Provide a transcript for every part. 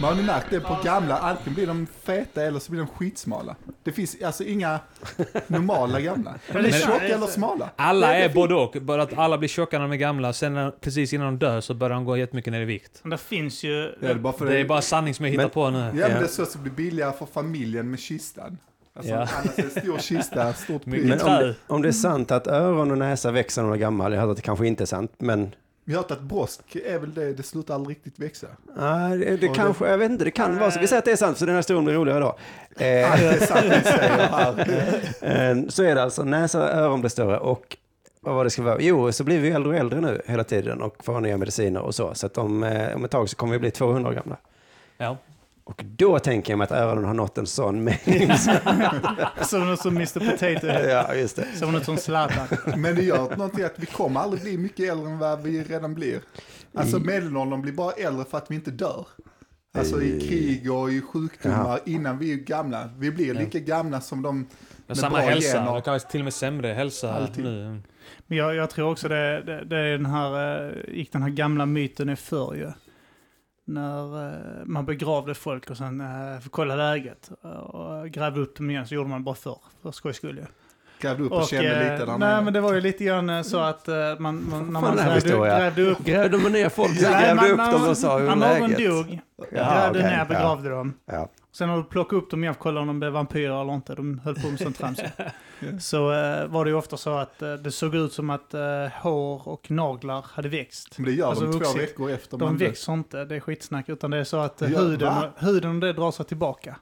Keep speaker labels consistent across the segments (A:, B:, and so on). A: Man har ni märkt det på gamla, antingen blir de feta eller så blir de skitsmala. Det finns alltså inga normala gamla. De är tjocka eller smala.
B: Alla är både och. Bara att alla blir tjocka när de är gamla, sen när, precis innan de dör så börjar de gå jättemycket ner i vikt.
C: Men Det finns ju...
A: Ja, det är bara för
B: Det är bara sanning som jag hittar
D: Men-
B: på nu.
A: Ja, men det är så att det blir billigare för familjen med kistan. Alltså,
B: Ja.
A: annars är det en stor kista, stort
B: Men
A: pris.
D: Men om,
B: trä.
D: det- om det är sant att öron och näsa växer när man är gammal, jag hörde att det kanske inte är sant, men
A: Vi har hört att brosk är väl det, det slutar aldrig riktigt växa.
D: nej, det, det
A: Och
D: kanske, jag vet inte, det kan vara så. Vi säger att det är sant, så den här historien blir roligare då. Eh,
A: Allt är sant vi säger här.
D: Eh, Så är det alltså, näsa och öron blir större och vad var det ska vara? Jo, så blir vi äldre och äldre nu hela tiden och får nya mediciner och så. Så att om, eh, om ett tag så kommer vi bli 200 år gamla.
B: Ja.
D: Och då tänker jag mig att öronen har nått en sån mängd.
C: Såg ut som Mr Potato.
D: ja, just det.
C: Såg ut som Zlatan.
A: Men det gör någonting att vi kommer aldrig bli mycket äldre än vad vi redan blir. Alltså medelåldern blir bara äldre för att vi inte dör. Alltså i krig och i sjukdomar innan vi är gamla. Vi blir lika gamla som de
B: Men
A: med
B: samma
A: bra
B: hälsa.
A: gener.
B: Jag kanske till och med sämre hälsa
A: Alltid.
B: nu.
C: Men jag, jag tror också det, det, det är den här, eh, gick den här gamla myten är för ju. När eh, man begravde folk och sen eh, kolla läget eh, och grävde upp dem igen så gjorde man bara förr, för skojs skull ju.
A: Grävde upp och,
C: Och,
A: kände
C: eh,
A: lite där
C: nej
A: nere.
C: men det var ju lite grann eh, så att eh, man, man, när
D: fan
C: man
D: är det här
C: grävde,
D: historia?
C: grävde upp
D: Grävde man ner folk så
C: Nej,
D: grävde
C: men
D: upp
C: när
D: dem
C: man-
D: och sa hur
C: när
D: är
C: någon
D: läget.
C: dog,
D: Ja,
C: grävde
D: okej,
C: ner,
D: ja.
C: begravde dem.
D: Ja.
C: Sen har du plockat upp dem igen och kollat om de blev vampyrer eller inte. De höll på med sånt trams. så eh, var det ju ofta så att eh, det såg ut som att eh, hår och naglar hade växt.
A: Men
D: Mm,
A: det gör
C: alltså
A: de två
C: vuxit.
A: veckor efter.
C: De
A: man dör.
C: växer inte, det är skitsnack. Utan det är så att eh,
A: Ja,
C: huden,
A: va?
C: huden och det drar sig tillbaka.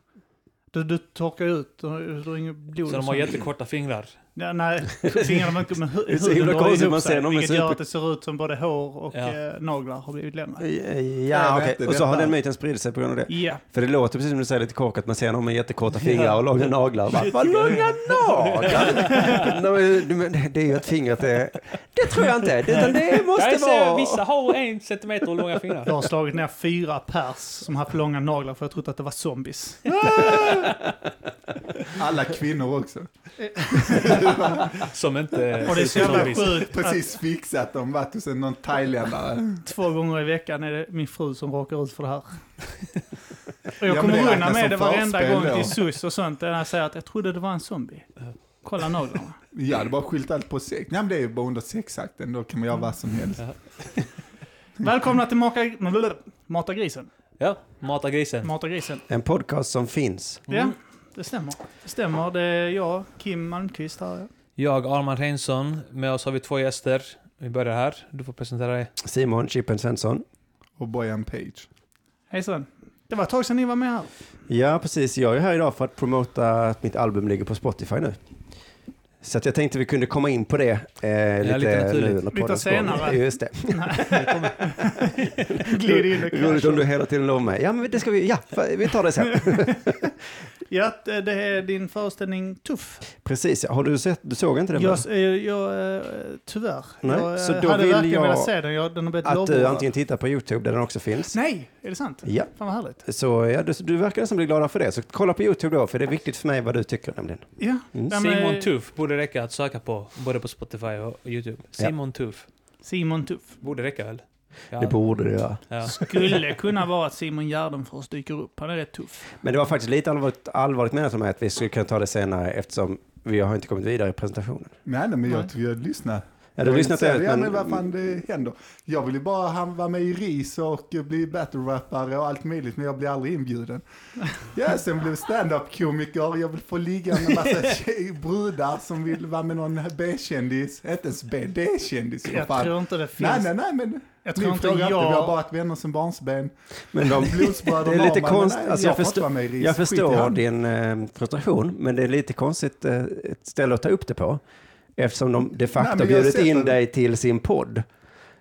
C: Du, du torkar ut, du har- du har inget blod.
B: Så de
C: och
B: har
C: sånt.
B: jättekorta fingrar.
C: Ja, nej, fingrarna man men hu-
D: är så
C: huden
D: himla
C: drar
D: konstigt
C: ihop
D: man ser
C: sig,
D: någon med
C: Vilket gör
D: super-
C: att det ser ut som både hår och
B: Ja.
C: eh, naglar har blivit lämnade.
D: Ja,
A: Jag
D: okej.
A: vet inte,
D: Och så har
A: detta-
D: den myten spridit sig på grund av det.
C: Ja,
D: För det låter precis som du säger lite korkat, man ser någon med jättekorta fingrar och långa naglar. Och bara, Vad långa naglar? Nej, men- men det är ju att fingret är... Det tror jag inte, utan det måste
B: Jag ser,
D: vara...
B: eh, vissa har en centimeter långa fingrar.
C: jag har slagit ner fyra pers som haft långa naglar för jag trodde att det var zombies.
A: Alla kvinnor också.
B: Som inte...
C: Och det är så jävla
B: Zombies.
C: sjukt att
A: Precis fixat dem, varit hos en- någon thailändare.
C: två gånger i veckan är det min fru som råkar ut för det här. Och
A: men
C: jag
A: det
C: kommer undan
A: räknas som
C: med det varenda
A: förspel
C: gång
A: då.
C: till SUS och sånt när jag säger att jag trodde det var en zombie. Kolla naglarna.
A: Ja, det bara skylt allt på sex. Nej, men det är ju bara under sexakten, då kan man
C: Mm.
A: göra vad som helst.
C: Välkomna till Maka, Mata grisen.
B: Ja, mata grisen.
C: Mata grisen.
D: En podcast som finns.
A: Mm.
C: Ja, det stämmer. Det stämmer. Det är jag, Kim Malmqvist här.
B: Jag, Arman Reinsson. Med oss har vi två gäster. Vi börjar här. Du får presentera dig.
D: Simon Chippen Svensson.
A: Och Bojan Page.
C: Hejsan. Det var ett tag sedan ni var med här.
D: Ja, precis. Jag är här idag för att promota att mitt album ligger på Spotify nu. Så att jag tänkte vi kunde komma in på det eh, lite,
B: lite naturligt.
D: nu under
C: Lite
D: poddens gång.
C: senare.
D: Just det.
C: Glid in och
D: Roligt
C: krasch.
D: om du hela tiden lovar mig. Ja, men det ska vi, ja, fa- vi tar det sen.
C: Ja, det det är din föreställning Tuff.
D: Precis, har du sett, du såg inte den? va?
C: Jag, eh, jag, eh, tyvärr.
D: Nej,
C: jag eh,
D: så då
C: hade
D: vill
C: verkligen
D: jag
C: velat se den. Jag, den har blivit
D: Att du
C: lovordad.
D: antingen tittar på YouTube där den också finns.
C: Nej, är det sant?
D: Ja.
C: Fan vad härligt.
D: Så ja, du, du verkar nästan bli glada för det. Så kolla på YouTube då, för det är viktigt för mig vad du tycker nämligen.
C: Ja. Nej, men-
B: Mm.
C: eh,
B: Simon Tuff borde räcka att söka på, både på Spotify och YouTube. Simon Tuff.
C: Simon Tuff.
B: Borde räcka väl? Ja.
D: Det borde du göra.
B: ja.
C: Skulle kunna vara att Simon Gärdenfors dyker upp. Han är rätt tuff.
D: Men det var faktiskt lite allvarligt, allvarligt menat för mig att vi skulle kunna ta det senare eftersom vi har inte kommit vidare i presentationen.
A: Nej, nej, men
C: Nej.
A: jag tror jag lyssnar.
D: Ja, du har
A: Jag
D: lyssnat
A: ser-
D: ut,
A: Ja,
D: men-
A: men vad fan det händer. Jag vill ju bara han vara med i RIS och eh, bli battle-rappare och allt möjligt, men jag blir aldrig inbjuden. Ja, sen blev stand-up-komiker, jag vill få ligga med en massa tjej- brudar som vill vara med någon B-kändis, inte ens B, D-kändis för
C: Jag
A: fan.
C: tror inte det finns.
A: Nej, nej, nej, men
C: Jag tror
A: min
C: inte
A: fråga är inte, vi har
C: jag...
A: bara ett vänner som barnsben.
D: Men de,
A: Blodsbröder
D: det är lite
A: Norman, men
D: konstigt.
A: nej,
D: Alltså,
A: jag
D: jag,
A: får inte
D: förstår,
A: vara med i RIS.
D: jag
A: Skit i
D: förstår
A: han.
D: din eh, frustration, men det är lite konstigt eh, ett ställe att ta upp det på. Eftersom de de
A: Nej,
D: facto
A: men jag har
D: bjudit
A: sett
D: in
A: den.
D: dig till sin podd.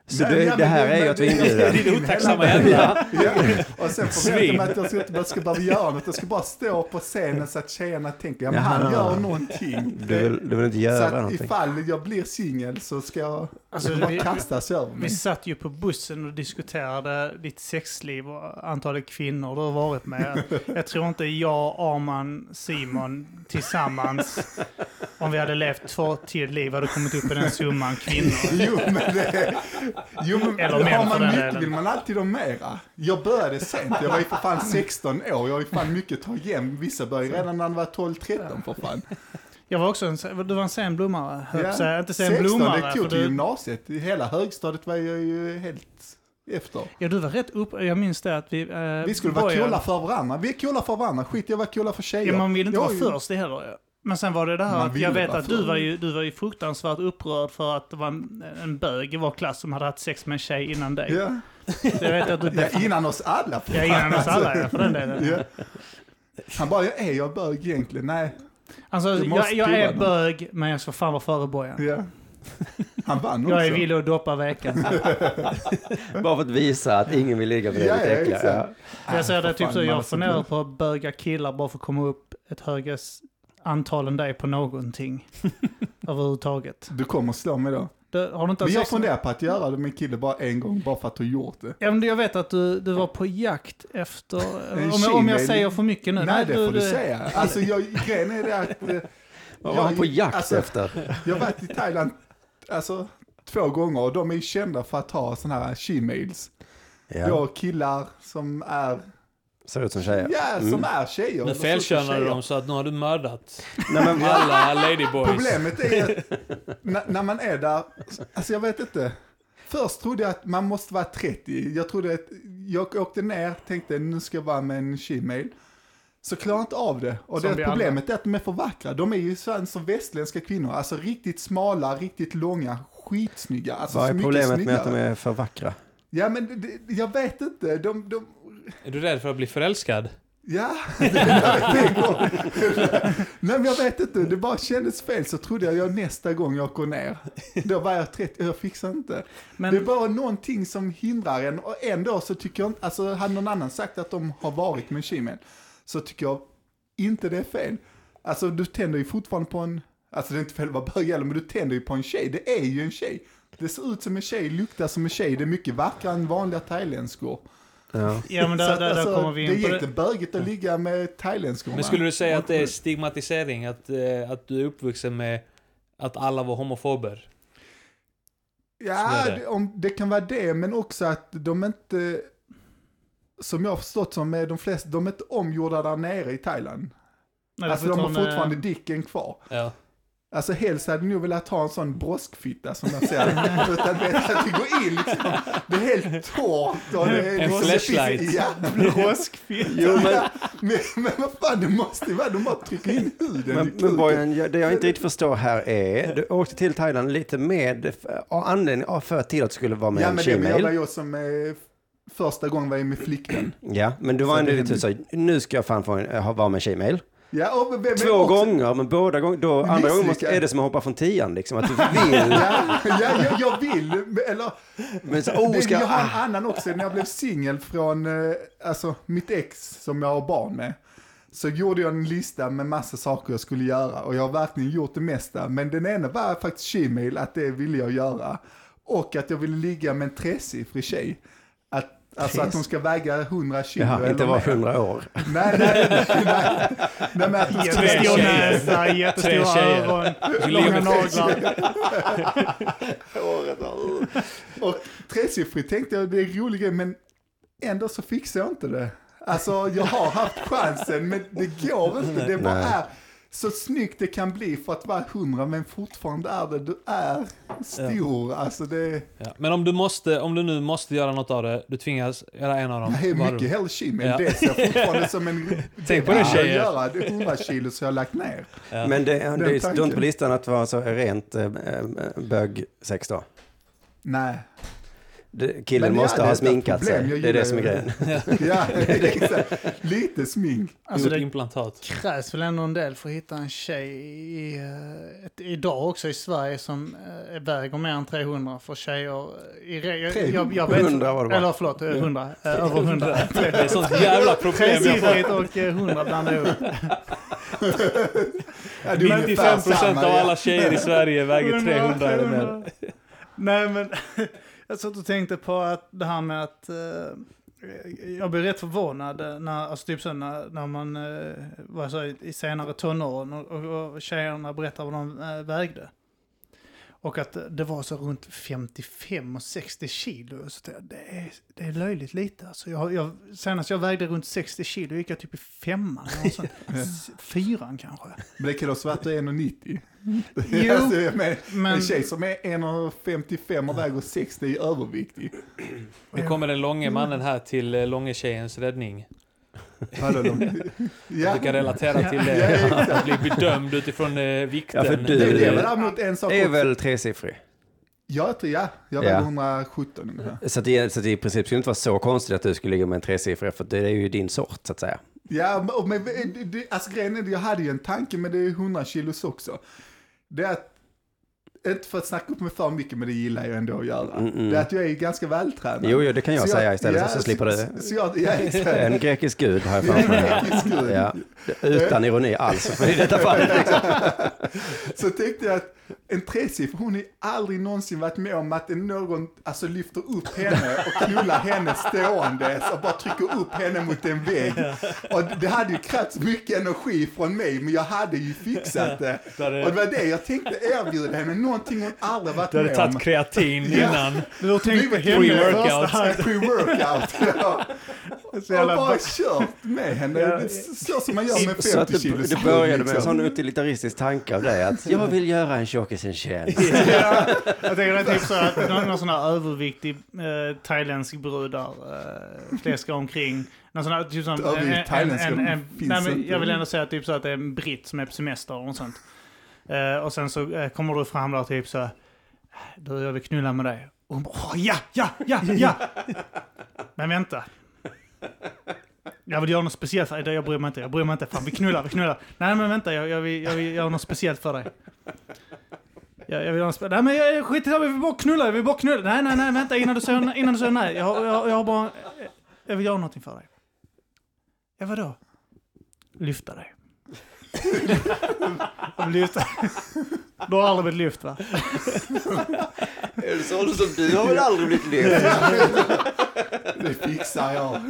D: Så
A: Nej,
D: det,
A: nej, men
D: det här
A: det-
D: är ju
A: men
D: att vi
A: det-
D: inbjuder.
B: Din otacksamma jävla...
D: Ja,
A: Ja, och sen förväntar jag mig att jag ska, inte- jag ska behöva göra något. Jag ska bara stå på scenen så att tjejerna tänker, ja men han
D: Jaha.
A: gör någonting.
D: du, vill, du vill inte
A: så
D: göra
A: att
D: någonting.
A: ifall jag blir singel så ska jag
C: Alltså,
A: alltså, bara
C: vi-
A: kastas över
C: Vi
A: mig.
C: satt ju på bussen och diskuterade ditt sexliv och antalet kvinnor du har varit med. Jag tror inte jag, Arman, Simon tillsammans, om vi hade levt två till liv, hade kommit upp i den summan kvinnor.
A: Jo men, det, jo, men
C: Eller män
A: har
C: för
A: man
C: den
A: mycket
C: delen.
A: vill man alltid ha mera. Jag började sent, jag var ju för fan 16 år, jag har ju fan mycket att ta igen. Vissa började ju redan när de var 12-13 för fan.
C: Jag var också en, se- du var en sen blommare, höll jag på att säga. Inte sen
A: 16,
C: blommare.
A: det
C: för
A: tog till
C: du-
A: gymnasiet. I Hela högstadiet var jag ju helt efter.
C: Ja, du var rätt upp. Jag minns det att vi... Eh,
A: Vi skulle vara
C: Bojan-
A: coola för varandra. Vi är coola för varandra. Skit jag var coola för tjejer.
C: Ja, man vill inte
A: Jag
C: vara
A: är ju-
C: först det heller. ja. Men sen var det det här
A: Man
C: att
A: vill
C: jag
A: ju
C: vet
A: vara
C: att du
A: först.
C: var, ju, du var ju fruktansvärt upprörd för att det var en, en bög i vår klass som hade haft sex med en tjej innan dig.
A: Ja.
C: Så jag vet att du blev...
A: Ja, innan oss alla. för
C: Ja,
A: fan,
C: innan oss
A: alltså.
C: alla ja, för den delen.
A: Ja. Han bara, är jag bög egentligen? Nej.
C: Alltså,
A: Du måste
C: jag, jag är
A: prova den.
C: bög, men jag ska fan vara före Bojan.
A: Ja. Han vann också.
C: Jag är villig att doppa veckan.
D: Bara för att visa att ingen vill ligga med dig,
A: Ja,
D: ditt
A: ja,
D: äckliga.
A: exakt.
D: Ja.
C: Jag säger
A: Äh, för
C: det typ
A: fan,
C: så,
A: man är
C: jag
A: så
C: funderar
A: cool.
C: på att böga killar bara för att komma upp ett högre s- antal än dig på någonting. Överhuvudtaget.
A: Du kommer slå mig då.
C: Du, har du inte
A: Men
C: haft
A: jag
C: sex med-
A: funderar på att göra det med en kille bara en gång, bara för att du gjort det.
C: Ja, men jag vet att du, du var på jakt efter...
A: En
C: Om jag, om jag
A: tjej-
C: säger för mycket nu.
A: Nej, det får du säga. Alltså, jag, grejen är det att... eh,
D: Vad var han på jakt
A: alltså,
D: efter?
A: Jag har varit i Thailand alltså, två gånger och de är ju kända för att ha sådana här she-mails.
D: Ja.
A: Då killar som är,
D: Ser ut som tjejer. Mm.
A: ja, som alltså, är tjejer.
B: Nu
A: De ser ut som
B: felkönade du
A: tjejer.
B: dem så att nu har du mördat
D: Nej, men,
B: alla ladyboys.
A: Problemet är att när, när man är där, alltså jag vet inte. Först trodde jag att man måste vara 30. Jag trodde att, jag åkte ner, tänkte nu ska jag vara med en she-mail. Så klarar jag inte av det. Och
C: Som vi
A: det problemet är att de är för vackra. De är ju så som västländska kvinnor. Alltså riktigt smala, riktigt långa, skitsnygga. Alltså,
D: vad
A: så
D: är
A: mycket
D: problemet med att de
A: snyggare.
D: är för vackra?
A: Ja, men det- det, jag vet inte. De, de,
B: Är du rädd för att bli förälskad?
A: ja, det är en gång. Nej, men jag vet inte. Det bara kändes fel så trodde jag, jag nästa gång jag går ner. Då var jag 30, jag fixar inte.
C: Men,
A: Det är bara någonting som hindrar en. Och ändå så tycker jag inte, alltså hade någon annan sagt att de har varit med Kimen, så tycker jag inte det är fel. Alltså du tänder ju fortfarande på en, alltså det är inte fel vad bög gäller, men du tänder ju på en tjej. Det är ju en tjej. Det ser ut som en tjej, luktar som en tjej, det är mycket vackrare än vanliga thailändskor.
D: Ja.
C: ja, men
A: Så
C: där,
A: att,
C: där, där
A: alltså,
C: kommer vi
A: det
C: in
A: är
C: på det.
A: egentligen bögigt att ligga med thailändskor.
B: Men skulle du säga att det är stigmatisering? Att, eh, att du är uppvuxen med att alla var homofober?
A: Ja,
B: Så är det.
A: det. Om, det kan vara det, men också att de inte, som jag har förstått som är de flesta, de är inte omgjorda där nere i Thailand.
C: Nej,
A: alltså
C: det
A: de har
C: fortfarande-
A: fortfarande dicken kvar.
B: Ja.
A: Alltså helst hade jag nog velat ha en sån broskfitta som jag ser det. Utan vet att det går in liksom. Det är helt torrt och det är... liksom-
B: En
A: det finns-
B: flashlight.
A: Ja,
C: Broskfilm.
D: Jo, men,
A: men, men vad fan, det måste ju vara, de bara trycker in huden i
D: men, men
A: kuken.
D: Bojan, jag- det jag inte riktigt förstår här är, du åkte till Thailand lite med av anledning av för till att du skulle vara med
A: Ja
D: en
A: men det men jag var
D: tjejmail.
A: jag som eh, första gången var jag med flickvän.
D: Ja, men du
A: Så
D: var ändå
A: det
D: lite typ så, nu ska jag fan få en, ha- vara med en tjejmail.
A: Ja, och, men, men
D: Två
A: också-
D: gånger, men båda gånger, då, andra gången måste,
A: Misslyckad.
D: är det som att hoppa från tian liksom, att du vill.
A: Ja, ja jag, jag vill, eller
D: Men så, oh,
A: det,
D: ska,
A: jag har
D: ah,
A: en annan också, när jag blev singel från eh, alltså, mitt ex som jag har barn med. Så gjorde jag en lista med massa saker jag skulle göra och jag har verkligen gjort det mesta. Men den ena var faktiskt shemale, att det ville jag göra. Och att jag ville ligga med en tresiffrig tjej. Att, alltså att hon ska väga 100 kilo
D: Jaha, inte
A: eller
D: var
A: mer.
D: hundra år.
A: Nej, nej, nej. nej, nej men att hon ska
B: Tre
C: Jättestor
B: tjejer.
C: näsa,
B: Tre
C: jättestora
B: tjejer.
C: öron,
B: skulle ligga
C: långa
B: med
C: naglar.
A: året. Och tresiffrigt tänkte jag, det är roligt men ändå så fixar jag inte det. Alltså jag har haft chansen men det går inte, det bara
D: Nej.
A: är så snyggt det kan bli för att vara hundra men fortfarande är det, du är stor. Alltså det
B: Ja. Men om du, måste, om du nu måste göra något av det, du tvingas göra en av dem.
A: är
B: vad
A: mycket hell shit, men
B: Ja.
A: det ser jag fortfarande som en...
B: Tänk på
A: borde
B: det,
A: jag
B: tjejer.
A: göra, det är 100 kilo så jag har lagt ner.
B: Ja.
D: Men det, det, det står
A: tanken.
D: inte på listan att vara så rent eh, eh, bögsex då.
A: Nej.
D: Det, killen
A: Men ja,
D: måste
A: det är
D: ha
A: ett
D: sminkat sig.
A: problem. Jag
D: Det
A: gillar
D: är det som är
A: ju-
D: grejen.
A: Ja, exakt. Lite smink.
C: Alltså
B: Gjort
C: det
B: implantat.
C: krävs väl ändå en del för att hitta en tjej i eh, ett idag också i Sverige som eh, väger mer än 300 för tjejer. eh, I, re- jag,
A: 300
C: jag, jag vet,
D: var det bara.
C: Eller förlåt, eh, 100. eh, Över 100.
B: Det är sånt jävla problem jag får.
C: Tresiffrigt och eh, 100 blandar ihop.
A: Ja, det är ungefär
B: 95 procent
A: samma,
B: av
A: ja.
B: alla tjejer i Sverige väger
C: 100,
B: 300 eller mer.
C: 300. Nej men, jag satt och tänkte på att det här med att eh, jag blev rätt förvånad eh, när, alltså typ så när, när man eh, var så i i senare tonåren och, och, och tjejerna berättade vad de eh, vägde. Och att det var så runt 55 och 60 kilo. Så det, det, är, det är löjligt lite. Alltså jag, jag, senast jag vägde runt 60 kilo gick jag typ i femman. eller något sånt. S- Fyran kanske.
A: Men det kan vara svart och 1,90.
C: Jo,
A: Alltså, jag menar,
C: men-
A: En tjej som är 1,55 och väger 60 är överviktig.
B: Nu kommer den långe mannen här till eh, långe tjejens räddning.
A: Hallå, de... ja.
B: Du kan relatera till
A: Ja,
B: det.
A: exakt.
B: Att bli bedömd utifrån eh, vikten.
D: Ja, för du-
A: Det är det
D: Det-
A: väl däremot en sak
D: Det är
A: också.
D: väl tresiffrig.
A: Jag tror jag. Jag väger
D: Ja.
A: 117 ungefär.
D: Så, att det, så att det i princip skulle inte vara så konstigt att du skulle ligga med en tresiffrig, för det är ju din sort så att säga.
A: Ja, men- och men det- det- alltså grejen är att jag hade ju en tanke med det är 100 kilos också. Det är att, inte för att snacka upp mig för mycket, men det gillar jag ändå att göra.
D: Mm-mm.
A: Det är att jag är ganska vältränad.
D: Jo, jo, det kan jag
A: Så
D: säga istället,
A: ja,
D: så slipper
A: Så,
D: du.
A: så jag, ja, exakt.
D: En grekisk gud har jag framför mig. här.
A: Gud.
D: Ja. Utan ironi alls, för i detta fallet. Liksom.
A: Så tänkte jag att en tresiffrig, hon har ju aldrig någonsin varit med om att någon alltså, lyfter upp henne och knullar henne stående och bara trycker upp henne mot en vägg. Och det hade ju krävts mycket energi från mig, men jag hade ju fixat det.
B: Du hade-
A: Och det var det jag tänkte erbjuda henne, någonting hon aldrig varit
B: Du hade
A: med om.
B: tagit kreatin
A: Ja.
B: innan.
C: Du har tänkt på
A: Livet-
C: henne
B: Pre-workout.
C: första hand.
A: Pre-workout. ja.
C: Så
A: Och
C: jävla
A: bara kört med henne, så som man gör med
D: Så att
A: 50
D: det,
A: kilos
D: det började med en
A: liksom.
D: sån utilitaristisk tanke av dig, att jag vill göra en tjockis en tjänst.
C: Ja, jag tänker det är typ så att någon, någon sån här överviktig eh, thailändsk brud där eh, fläskar omkring. Någon sån här, typ sån,
A: Övervikt thailändsk, finns
C: nej, men
A: inte.
C: jag vill ändå säga typ så att det är en britt som är på semester och sånt. Eh, och sen så eh, kommer du fram där typ så du jag vill knulla med dig. Och hon bara "Åh, ja, ja, ja, ja. men vänta. Jag vill göra något speciellt för dig. Jag bryr mig inte. Jag bryr mig inte. Fan, vi knullar, vi knullar. Nej, men vänta. Jag, jag, vill, jag vill göra något speciellt för dig. Jag, jag vill göra något spe- Nej, men jag, skit i det. Vi vill bara knulla. Vi vill bara knulla. Nej, nej, nej. Vänta innan du säger, innan du säger nej. Jag, har- jag, har- jag har bara... Jag vill göra någonting för dig. Ja, vadå? Lyfta dig. Jag vill lyfta. Du har aldrig blivit lyft, va?
D: En sån som du har väl aldrig blivit lyft?
A: Det fixar jag.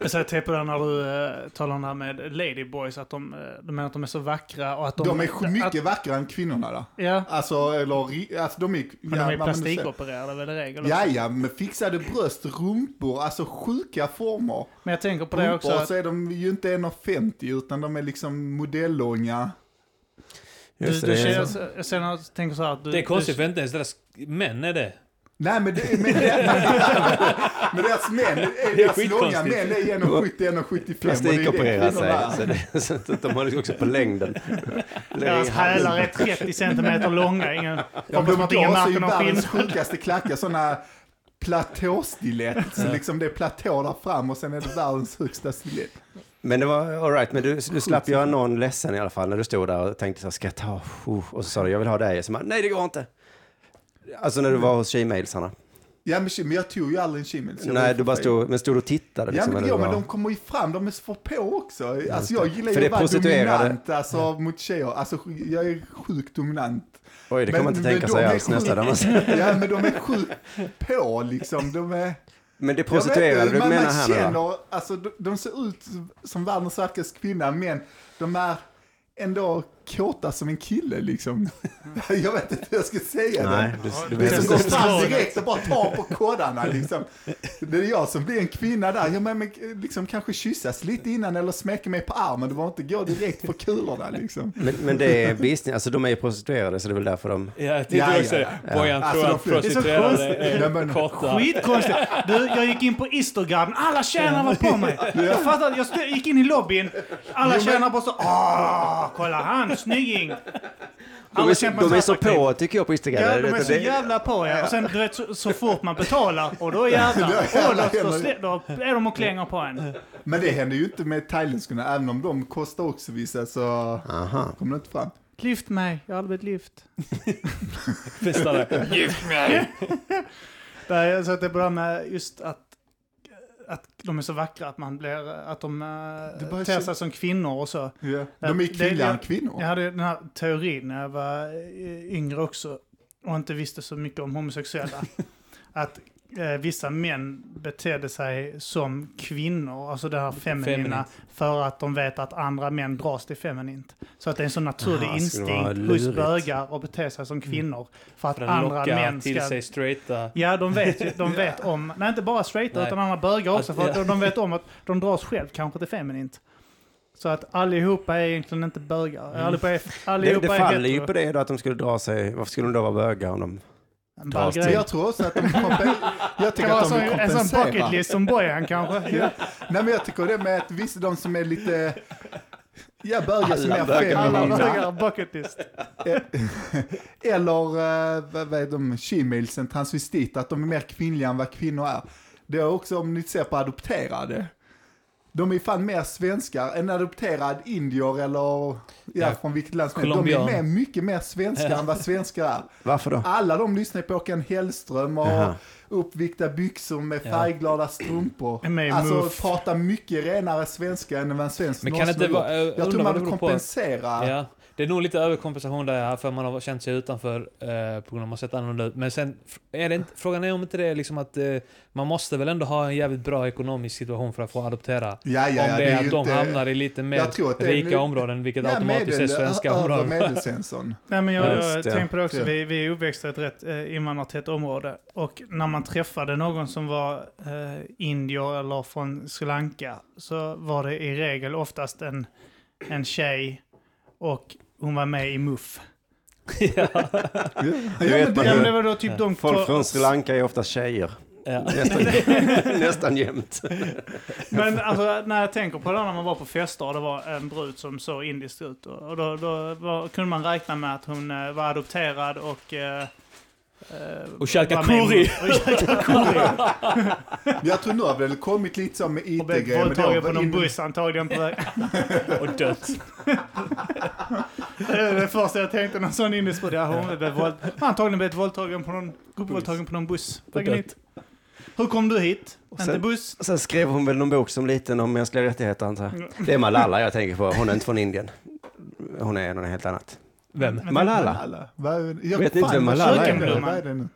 C: Jag säger till på det när du eh, talar om det här med ladyboys, att de, eh, de menar att de är så vackra och att de...
A: De är sj- mycket
C: Att,
A: vackrare än kvinnorna där.
C: ja,
A: Alltså, eller, ri- alltså de är...
C: men de är
A: ja, vad man nu säger.
C: plastikopererade väl i regel. också.
A: Ja, ja, men fixade bröst, rumpor, alltså sjuka former.
C: Men jag tänker på det också.
A: Rumpor
C: Att,
A: så är de ju inte 1,50 utan de är liksom modellånga.
C: du,
D: Just
C: du,
D: det, det, är så.
C: känner, jag känner, jag tänker så här att du,
B: Det är konstigt
C: du,
B: för inte ens deras män är det.
A: Nej, men, det, men, men deras män, eh, deras långa
B: skitkonstigt.
A: män är 1,70, 1,75.
D: plastikopererat sig, så, det, så att de har liksom också på längden.
C: deras hälar är 30 centimeter långa. Ingen,
A: Ja,
C: hoppas
A: de
C: att ingen
A: blåser ju
C: märker någon
A: världens
C: skillnad.
A: sjukaste klackar, sådana platåstilett. Så liksom det är platå där fram och sen är det världens högsta stilett.
D: Men det var all right, men du, du slapp göra någon ledsen i alla fall när du stod där och tänkte så här, ska jag ta, oh, och så sa du jag vill ha dig, och så bara, nej det går inte. Alltså när du var hos tjejmailsarna.
A: Mm. Ja, men shit, men jag tog ju aldrig en kimmel. så jag var
D: Nej,
A: ju
D: du bara
A: för feg.
D: stod, men stod och tittade
A: Ja
D: liksom.
A: men,
D: eller
A: ja,
D: vad?
A: men de kommer ju fram, de är så på också. Alltså jag gillar ju
D: För det
A: att vara
D: prostituerade.
A: dominant alltså, mot tjejer. Alltså jag är sjukt dominant.
D: Oj, det kan man inte
A: men
D: tänka
A: de
D: sig
A: är
D: alls
A: sjukt-
D: nästan. när man ser-
A: Ja men de är sjukt på liksom. De är... Jag
D: Men det
A: vet inte,
D: prostituerade du
A: man,
D: menar
A: man
D: här nu va?
A: känner, alltså de, de ser ut som världens vackraste kvinna men de är ändå kåta som en kille liksom. Jag vet inte hur jag ska säga
D: Nej,
A: det.
D: du, du
A: Det
D: vet
A: som går
D: inte.
A: fram direkt och bara tar på koddarna liksom. Det är jag som blir en kvinna där. Jag men, liksom kanske kyssas lite innan eller smäcker mig på armen. Det var inte gå direkt på kulorna liksom.
D: Men, men det är business, alltså de är ju prostituerade så det är väl därför de...
B: Ja, jag
A: Ja,
B: tänkte
A: ja,
B: också
A: ja,
B: det. Bojan
A: Alltså,
B: tror
A: de
B: att
A: flesta- Det är så
B: prostituerade
A: konstigt. Ja,
B: är
A: men-
B: korta.
C: Skitkonstigt. Du, jag gick in på Instagram, alla tjänar var på mig. Jag fattade, jag stod, gick in i lobbyn, alla tjänar bara så åh, kolla han, snygging.
D: De
C: Alla
D: är,
C: känner man
D: de är så
C: attraktiv.
D: på tycker jag på Instagram.
C: Ja,
D: Du
C: de
D: vet,
C: är så
D: det-
C: jävla på ja. Och sen du vet, så, så fort man betalar, och då jävlar, och då, då, slä- då är de och klänger på en.
A: Men det händer ju inte med thailändskorna. Även om de kostar också vissa så
D: Aha.
A: kommer det inte fram.
C: Lyft mig, jag har aldrig blivit lyft.
E: Festa det.
C: Nej, jag sa att det börjar med just att att de är så vackra, att man blir, att de
A: Det
C: äh,
A: börjar
C: ter
A: se-
C: sig som kvinnor och så.
A: Ja.
C: Ja,
A: De är
C: det-
A: killar än
C: det-
A: kvinnor.
C: Jag hade den här teorin när jag var eh, yngre också och inte visste så mycket om homosexuella. att eh, vissa män betedde sig som kvinnor, alltså det här feminina,
B: Feminint.
C: för att de vet att andra män dras till feminint. Så att det är en sån naturlig
D: Aha, skulle vara
C: instinkt hos
D: lurigt.
C: bögar att bete sig som kvinnor. För att
B: För att
C: andra
B: locka
C: män
B: till
C: ska...
B: sig straighta.
C: Ja, de vet, ju- de vet om, nej inte bara straighta
B: Nej.
C: utan andra bögar också,
B: Att-
C: för att
B: ja.
C: de vet om att de dras själv kanske till feminint. Så att allihopa är egentligen inte bögar.
B: Mm.
C: Allihopa är,
D: Det,
C: allihopa
D: det
C: är
D: faller ju på det då att de skulle dra sig. Varför skulle de då vara bögar om de...
C: En ball
D: dras
C: grej.
A: Men jag tror också att de kompenserar. Jag
C: Det kan
A: tycker
C: vara
A: att
C: som,
A: de
C: en sån bucket
A: kompenserar.
C: list som Bojan kanske.
A: Ja. Nej men jag tycker det med att vissa de som är lite, ja bögar som
D: Alla
A: är
D: bögar.
C: Alla
A: feminina.
C: bögar bucket list.
A: Eller eh, vad vad är de, shemilesen, transvestiter, att de är mer kvinnliga än vad kvinnor är. Det är också om ni ser på adopterade. De är fan mer svenskar. En adopterad indier eller ja,
B: Ja,
A: från vilket land som helst. De är
B: colombian.
A: mer, mycket mer svenskar än vad svenskar är.
D: Varför då?
A: Alla de lyssnar på Håkan Hellström och
D: Jaha.
A: uppvikta byxor med
B: Ja.
A: färgglada strumpor.
C: Är med i
A: Alltså
C: MUF.
A: prata mycket renare svenska än vad en svensk
B: Men kan det
A: någonsin
B: inte
A: har gjort.
B: vara... Jag,
A: Jag
B: undrar
A: tror
B: vad
A: man
B: det
A: vill
B: beror på.
A: kompensera.
B: Ja, det är nog lite överkompensation där för man har känt sig utanför eh, på grund av att man sett annorlunda ut. Men sen, fr- är det inte, frågan är om inte det är liksom att eh, man måste väl ändå ha en jävligt bra ekonomisk situation för att få adoptera.
A: Ja, ja, ja,
B: om det, är
A: ju
B: att de
A: inte-
B: hamnar i lite
A: Jag tror att
B: mer
A: det är
B: rika
A: nu-
B: områden, vilket
A: Ja,
B: automatiskt är
A: medel-
B: svenska
A: ö- Över
B: områden.
A: medelsvensson.
C: Nej, men jag
D: Ja, just
C: har
D: det.
C: tänkt på det också.
A: Ja.
C: Vi, vi är uppväxta i ett rätt eh, invandrartätt område. Och när man träffade någon som var eh, indier eller från Sri Lanka så var det i regel oftast en, en tjej och hon var med i MUF.
B: ja,
A: Ja,
D: Du vet
A: men
D: man
A: det-
C: Ja, men det
D: hur...
C: var då typ de två-
D: Alltså, Folk från Sri Lanka är ofta tjejer.
B: ja.
D: Nästan, nästan jämt.
C: Men alltså, när jag tänker på det när man var på fester och det var en brud som såg indiskt ut. Och och då, då var, kunde man räkna med att hon eh, var adopterad och... eh, eh,
B: Och käka
C: var med i-
B: curry.
C: Och käka curry.
A: Jag tror nu har väl kommit lite som med
C: Och blev
A: IT-grejer. men det
C: våldtagen
A: var
C: på någon
A: in-
C: buss antagligen på väg.
B: Och dött.
C: Det är det första jag tänkte, någon sån indisk brud. Ja, hon blev våld... antagligen blivit våldtagen på någon, gruppvåldtagen på någon buss. på vägen
B: dött.
C: hit. Hur kom du hit? Inte
D: sen-
C: buss?
D: Och Sen skrev hon väl någon bok som liten om mänskliga rättigheter antar jag. Det är Malala jag tänker på. Hon är inte från Indien. Hon är någon helt annat.
B: Vem?
D: Malala.
A: Malala. Vad- jag-
D: Vet ni inte
A: fan,
D: vem
A: vad
D: Malala
A: söker
C: är?
A: du? Vad är det nu?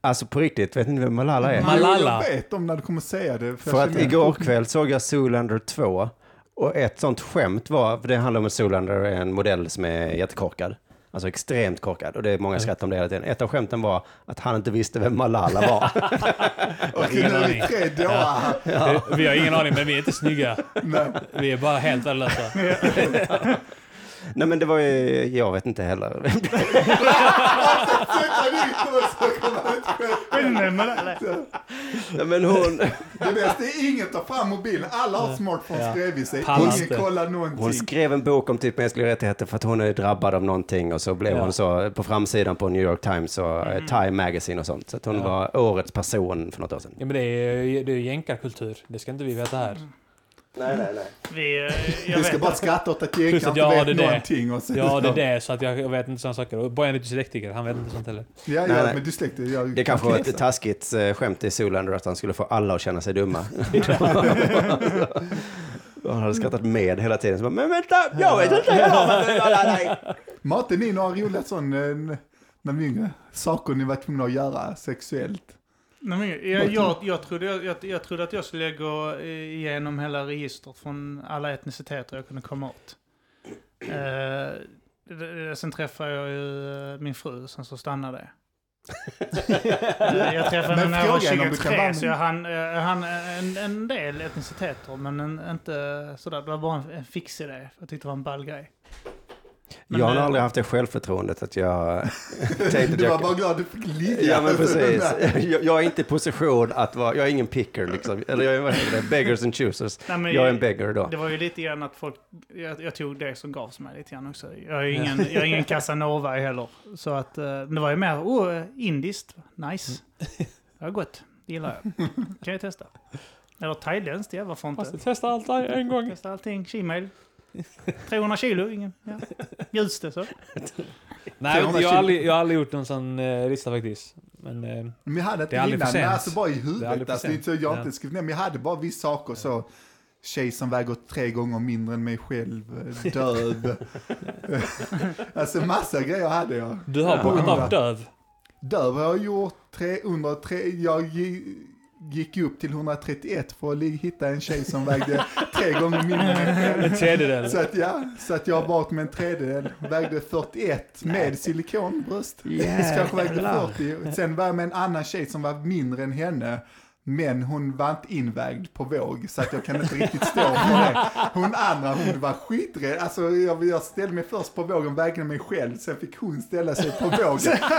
D: Alltså på riktigt, vet ni vem Malala är?
B: Malala.
A: Jag vet om när du kommer säga det.
D: För
A: jag
D: att
A: känner-
D: igår kväll såg jag Zoolander 2 och ett sånt skämt var, för det handlar om att Zoolander är en modell som är jättekorkad. Alltså extremt korkad och det är många skrattar om det hela tiden. Ett av skämten var att han inte visste vem Malala var.
A: Och nu är vi tre dårar.
B: Vi- Vi har ingen aning, men vi är inte snygga.
A: Nej.
B: Vi är bara helt värdelösa.
D: Nej men det var ju, jag vet inte heller.
A: Sätta dit dem och så kommer det inte ske.
D: Nej men hon,
A: Det bästa är ingen tar fram mobilen. Alla har smartphones
B: Ja.
A: bredvid sig.
B: Pallar
A: Ingen
B: inte.
A: kollar
D: hon
A: någonting.
D: skrev en bok om typ mänskliga rättigheter för att hon är drabbad av någonting och så blev
B: Ja.
D: hon så på framsidan på New York Times och eh, Time Magazine och sånt. Så att hon
B: Ja.
D: var årets person för något år sedan.
B: Ja, men det är, det är jänkarkultur. Det ska inte vi veta här.
D: Nej, nej, nej.
C: Vi, eh, jag
A: Du ska
C: vet
A: bara skratta åt att
B: Plus
A: jänkar
B: att
A: inte
B: jag hade
A: vet
B: det.
A: någonting. och så-
B: Ja, det är det. Så att jag, jag vet inte sådana saker. Och Bojan är dyslektiker. Han vet inte sånt heller.
A: Ja,
D: Nej,
A: ja,
D: nej.
A: men du släckte. jag-
D: Det kanske var ett
A: Knäsa.
D: taskigt eh, skämt i Zoolander att han skulle få alla att känna sig dumma. Och han hade skrattat med hela tiden. Så bara, men vänta, jag vet inte. jag vet inte, alla, nej."
A: Matte, ni några roliga sån, eh, när ni var yngre, saker ni var tvungna att göra sexuellt?
C: Nej, men jag, jag, jag, trodde, jag, jag, jag trodde att jag skulle gå eh, igenom hela registret från alla etniciteter jag kunde komma åt. Eh, det- det- sen träffade jag ju eh, min fru, sen så stannade det. Eh, jag träffade
A: Men
C: henne när jag var
A: frågan är om du kan
C: 23,
A: vara-
C: så jag hann, jag hann en, en del etniciteter, men en, inte sådär. Det var bara en, en fix idé. Jag tyckte det var en ball grej. Men,
D: Jag har
C: eh,
D: aldrig haft det självförtroendet att jag tänkte att
A: Du var
D: jag...
A: bara glad du fick ligga.
D: Ja men
A: Alltså,
D: precis. Jag, jag är inte i position att vara, jag är ingen picker liksom. Eller jag är vad heter det? beggars and choosers.
C: nej, men
D: Jag är en beggar då.
C: Det var ju lite grann att folk, jag, jag tog det som gavs mig lite grann också. Jag är ingen, jag är ingen casanova heller. Så att, eh, det var ju mer, oh, eh, indiskt, nice.
B: Mm.
C: Det var gott, det gillar jag. Kan jag testa. Eller thailändskt, ja varför inte?
B: Måste testa allt en gång.
C: Testa allting, Gmail. 300 kilo, ingen... Ja. Bjuds det så?
A: 300
B: Nej, jag, jag,
A: kilo.
B: har aldrig, jag har aldrig gjort någon sån eh, lista faktiskt. Men eh,
A: Men jag hade inte
B: Det är aldrig
A: innan,
B: för
A: men
B: sent.
A: alltså bara i
B: Det är aldrig
A: huvudet.
B: för
A: Alltså, det är inte så jag har
B: sent.
A: inte skrivit ner, men jag hade bara vissa saker så. Tjej som väger tre gånger mindre än mig själv, eh, döv. alltså massa grejer hade jag.
B: du har
A: Ja.
B: bokat av döv.
A: Döv har jag gjort 303, jag gi- gick upp till 131 för att li- hitta en tjej som vägde tre gånger mindre än mig själv.
B: En tredjedel.
A: Så att ja, så att jag har valt med en tredjedel. Vägde 41 med silikonbröst. Så kanske vägde 40. Sen var jag med en annan tjej som var mindre än henne. Men hon var inte invägd på våg, så att jag kan inte riktigt stå för det. Hon andra, hon var skiträdd. Alltså jag, jag ställde mig först på vågen, vägde mig själv, sen fick hon ställa sig på vågen.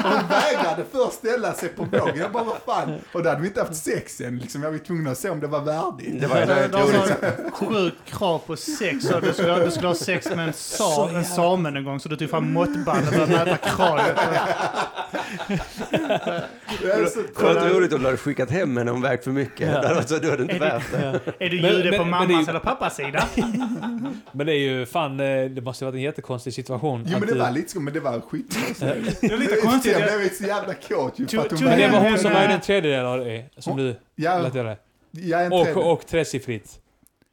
A: Hon vägrade först ställa sig på vågen. Jag bara, vad fan? Och då hade vi inte haft sex än, liksom. Jag var tvungen att se om det var värdigt.
D: Det var ju
C: De
D: roligt.
C: har sjukt krav på sex. Så du, skulle, ha- du skulle ha sex med en, sa, en samen en gång, så du tog fram måttbandet och började mäta kravet.
A: Jag är så
D: Det hade varit roligt om du hade skickat hem henne om vägt för mycket. Ja. Alltså, då är det inte värt det.
C: Är du
B: Men-
C: jude på
B: men- men det är
C: mammas
B: ju-
C: eller pappas sida?
B: Men det är ju fan, eh, det måste ju varit en jättekonstig situation.
A: Jo
B: att
A: men det
B: du-
A: var lite så, men det var skitkonstigt.
C: Det är lite
A: Sen
C: konstigt.
A: blev jag så jävla kåt ju för att hon
C: Men
B: men det var
A: var
B: hon som
C: Men,
B: vägde
C: eh,
B: en tredjedel av det som du
A: Ja,
B: lät göra.
A: jag är en tredjedel.
B: Och, och tresiffrigt.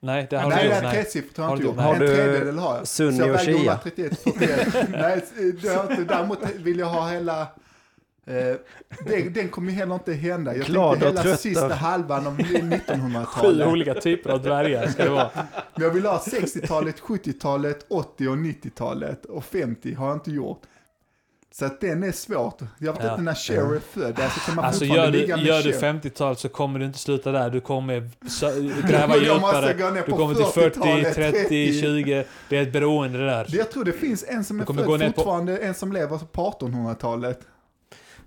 B: Nej, det har du
A: Nej, det
B: inte
A: är
B: gjort. Nej.
A: tresiffrigt har jag
B: Har
A: inte
B: du-
A: gjort.
D: har
A: En
D: du
A: tredjedel har jag.
D: Sunni
A: Så jag
D: och
A: väger
D: Shia?
A: 131, 41. Nej, det har jag inte. Däremot vill jag ha hela... Eh, den, den kommer ju heller inte hända. Jag
D: Glada
A: tänkte
D: och
A: hela
D: trötta.
A: sista halvan av
B: Sju
A: 1900-talet.
B: olika typer av dvärgar ska det vara.
A: Men jag vill ha 60-talet, 70-talet, 80 och 90-talet. Och 50 har jag inte gjort. Så att den är svårt. Jag vet
B: Ja.
A: inte när Cher är född. Alltså kan man
B: Alltså gör
A: fortfarande
B: du,
A: ligga med
B: gör du
A: Cher?
B: 50-tal så kommer du inte sluta där. Du kommer sö- gräva
A: Jag måste
B: djupare.
A: gå ner
B: Du
A: på
B: kommer till 40,
A: 40-talet,
B: 30, 20. Det är ett beroende det där.
A: Det- Jag tror det finns en som är
B: Du kommer gå ner
A: född
B: på-
A: fortfarande, en som lever på 1800-talet.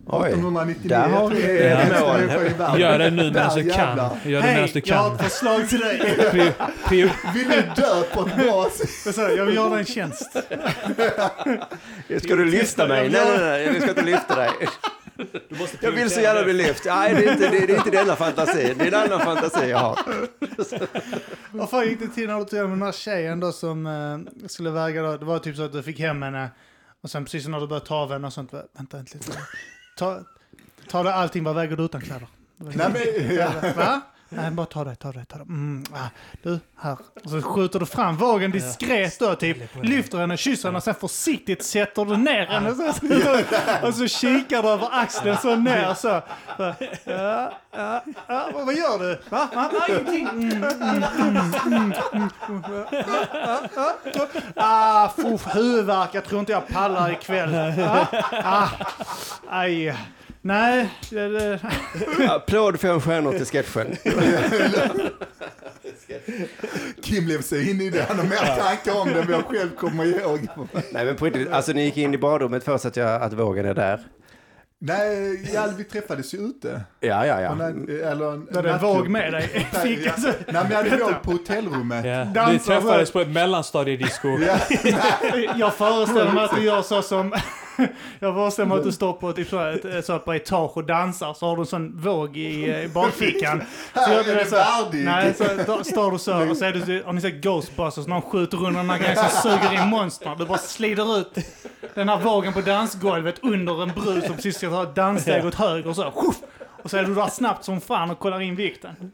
D: Oj.
A: 1899.
D: Där har vi
A: det är
B: ett
A: nästa
D: mål.
A: människa i världen.
B: Gör det nu medan
A: Där
B: du kan.
A: jävlar.
B: Gör det medan
C: Hej,
B: du
C: jag har
B: kan.
C: ett förslag till dig.
B: Prior- prior-
A: Vill du dö på ett bra sätt?
C: Jag sa, Jag vill göra dig en tjänst.
D: Ska du lyfta mig? Nej, nej, nej, jag ska inte lyfta dig. Jag vill så gärna bli lyft. Nej, det är inte, det, det är inte denna fantasi. Det är en annan fantasi jag har.
C: Vad fan gick det till när du tog hem den här tjejen då som eh, skulle väga då? Det var typ så att du fick hem henne och sen precis när du började ta av henne och sånt. va- Vänta inte lite. Ta, ta det allting, vad väger du utan kläder?
A: Nej, men, ja.
C: Va? Nej, bara ta det, ta det, ta det. Mm, ah, du, här. Och så skjuter du fram vågen diskret då, typ. Lyfter henne, kysser henne och sen försiktigt sätter du ner henne. Så, så, så, och så kikar du över axeln så ner så. Ja, ja, ja, vad vad gör du? Va? Va? Va? Ingenting. Mm, mm, mm, mm, mm. Ja, ja, ja. Ah, fuff, huvudvärk. Jag tror inte jag pallar ikväll. Ah, ah, aj. Nej, det, det,
D: Applåd fem stjärnor till sketchen.
A: Kim lever sig in i det. Han har mer tankar om det än vad jag själv kommer ihåg.
D: Nej, men på riktigt. Alltså, ni gick in i badrummet först att, jag, att vågen är där.
A: Nej, ja, vi träffades ju ute.
D: Ja, ja,
A: Och
D: ja.
A: när- Eller en
C: det är en våg med dig alltså, i
A: Nej, ja.
C: fickan. så-
A: Nej, men jag hade våg på hotellrummet.
B: Ja. Vi
C: Dansar
B: träffades på ett mellanstadiedisco.
A: Ja.
C: Jag föreställer mig att du gör så som... Jag föreställer mig att du står på typ så här, ett, så här, på ett tak och dansar, så har du en sån våg i, eh, i bakfickan. Så
A: Här
C: gör
A: är
C: du det
A: det
C: så här-
A: värdig.
C: Nej, så då, står du så och så är du, har ni sett Ghostbusters, någon skjuter under den här grejen som suger in monster. Du bara slider ut den här vågen på dansgolvet under en brud som precis ska ta ett danssteg åt höger och så. Shuff! Och så är du där snabbt som fan och kollar in vikten.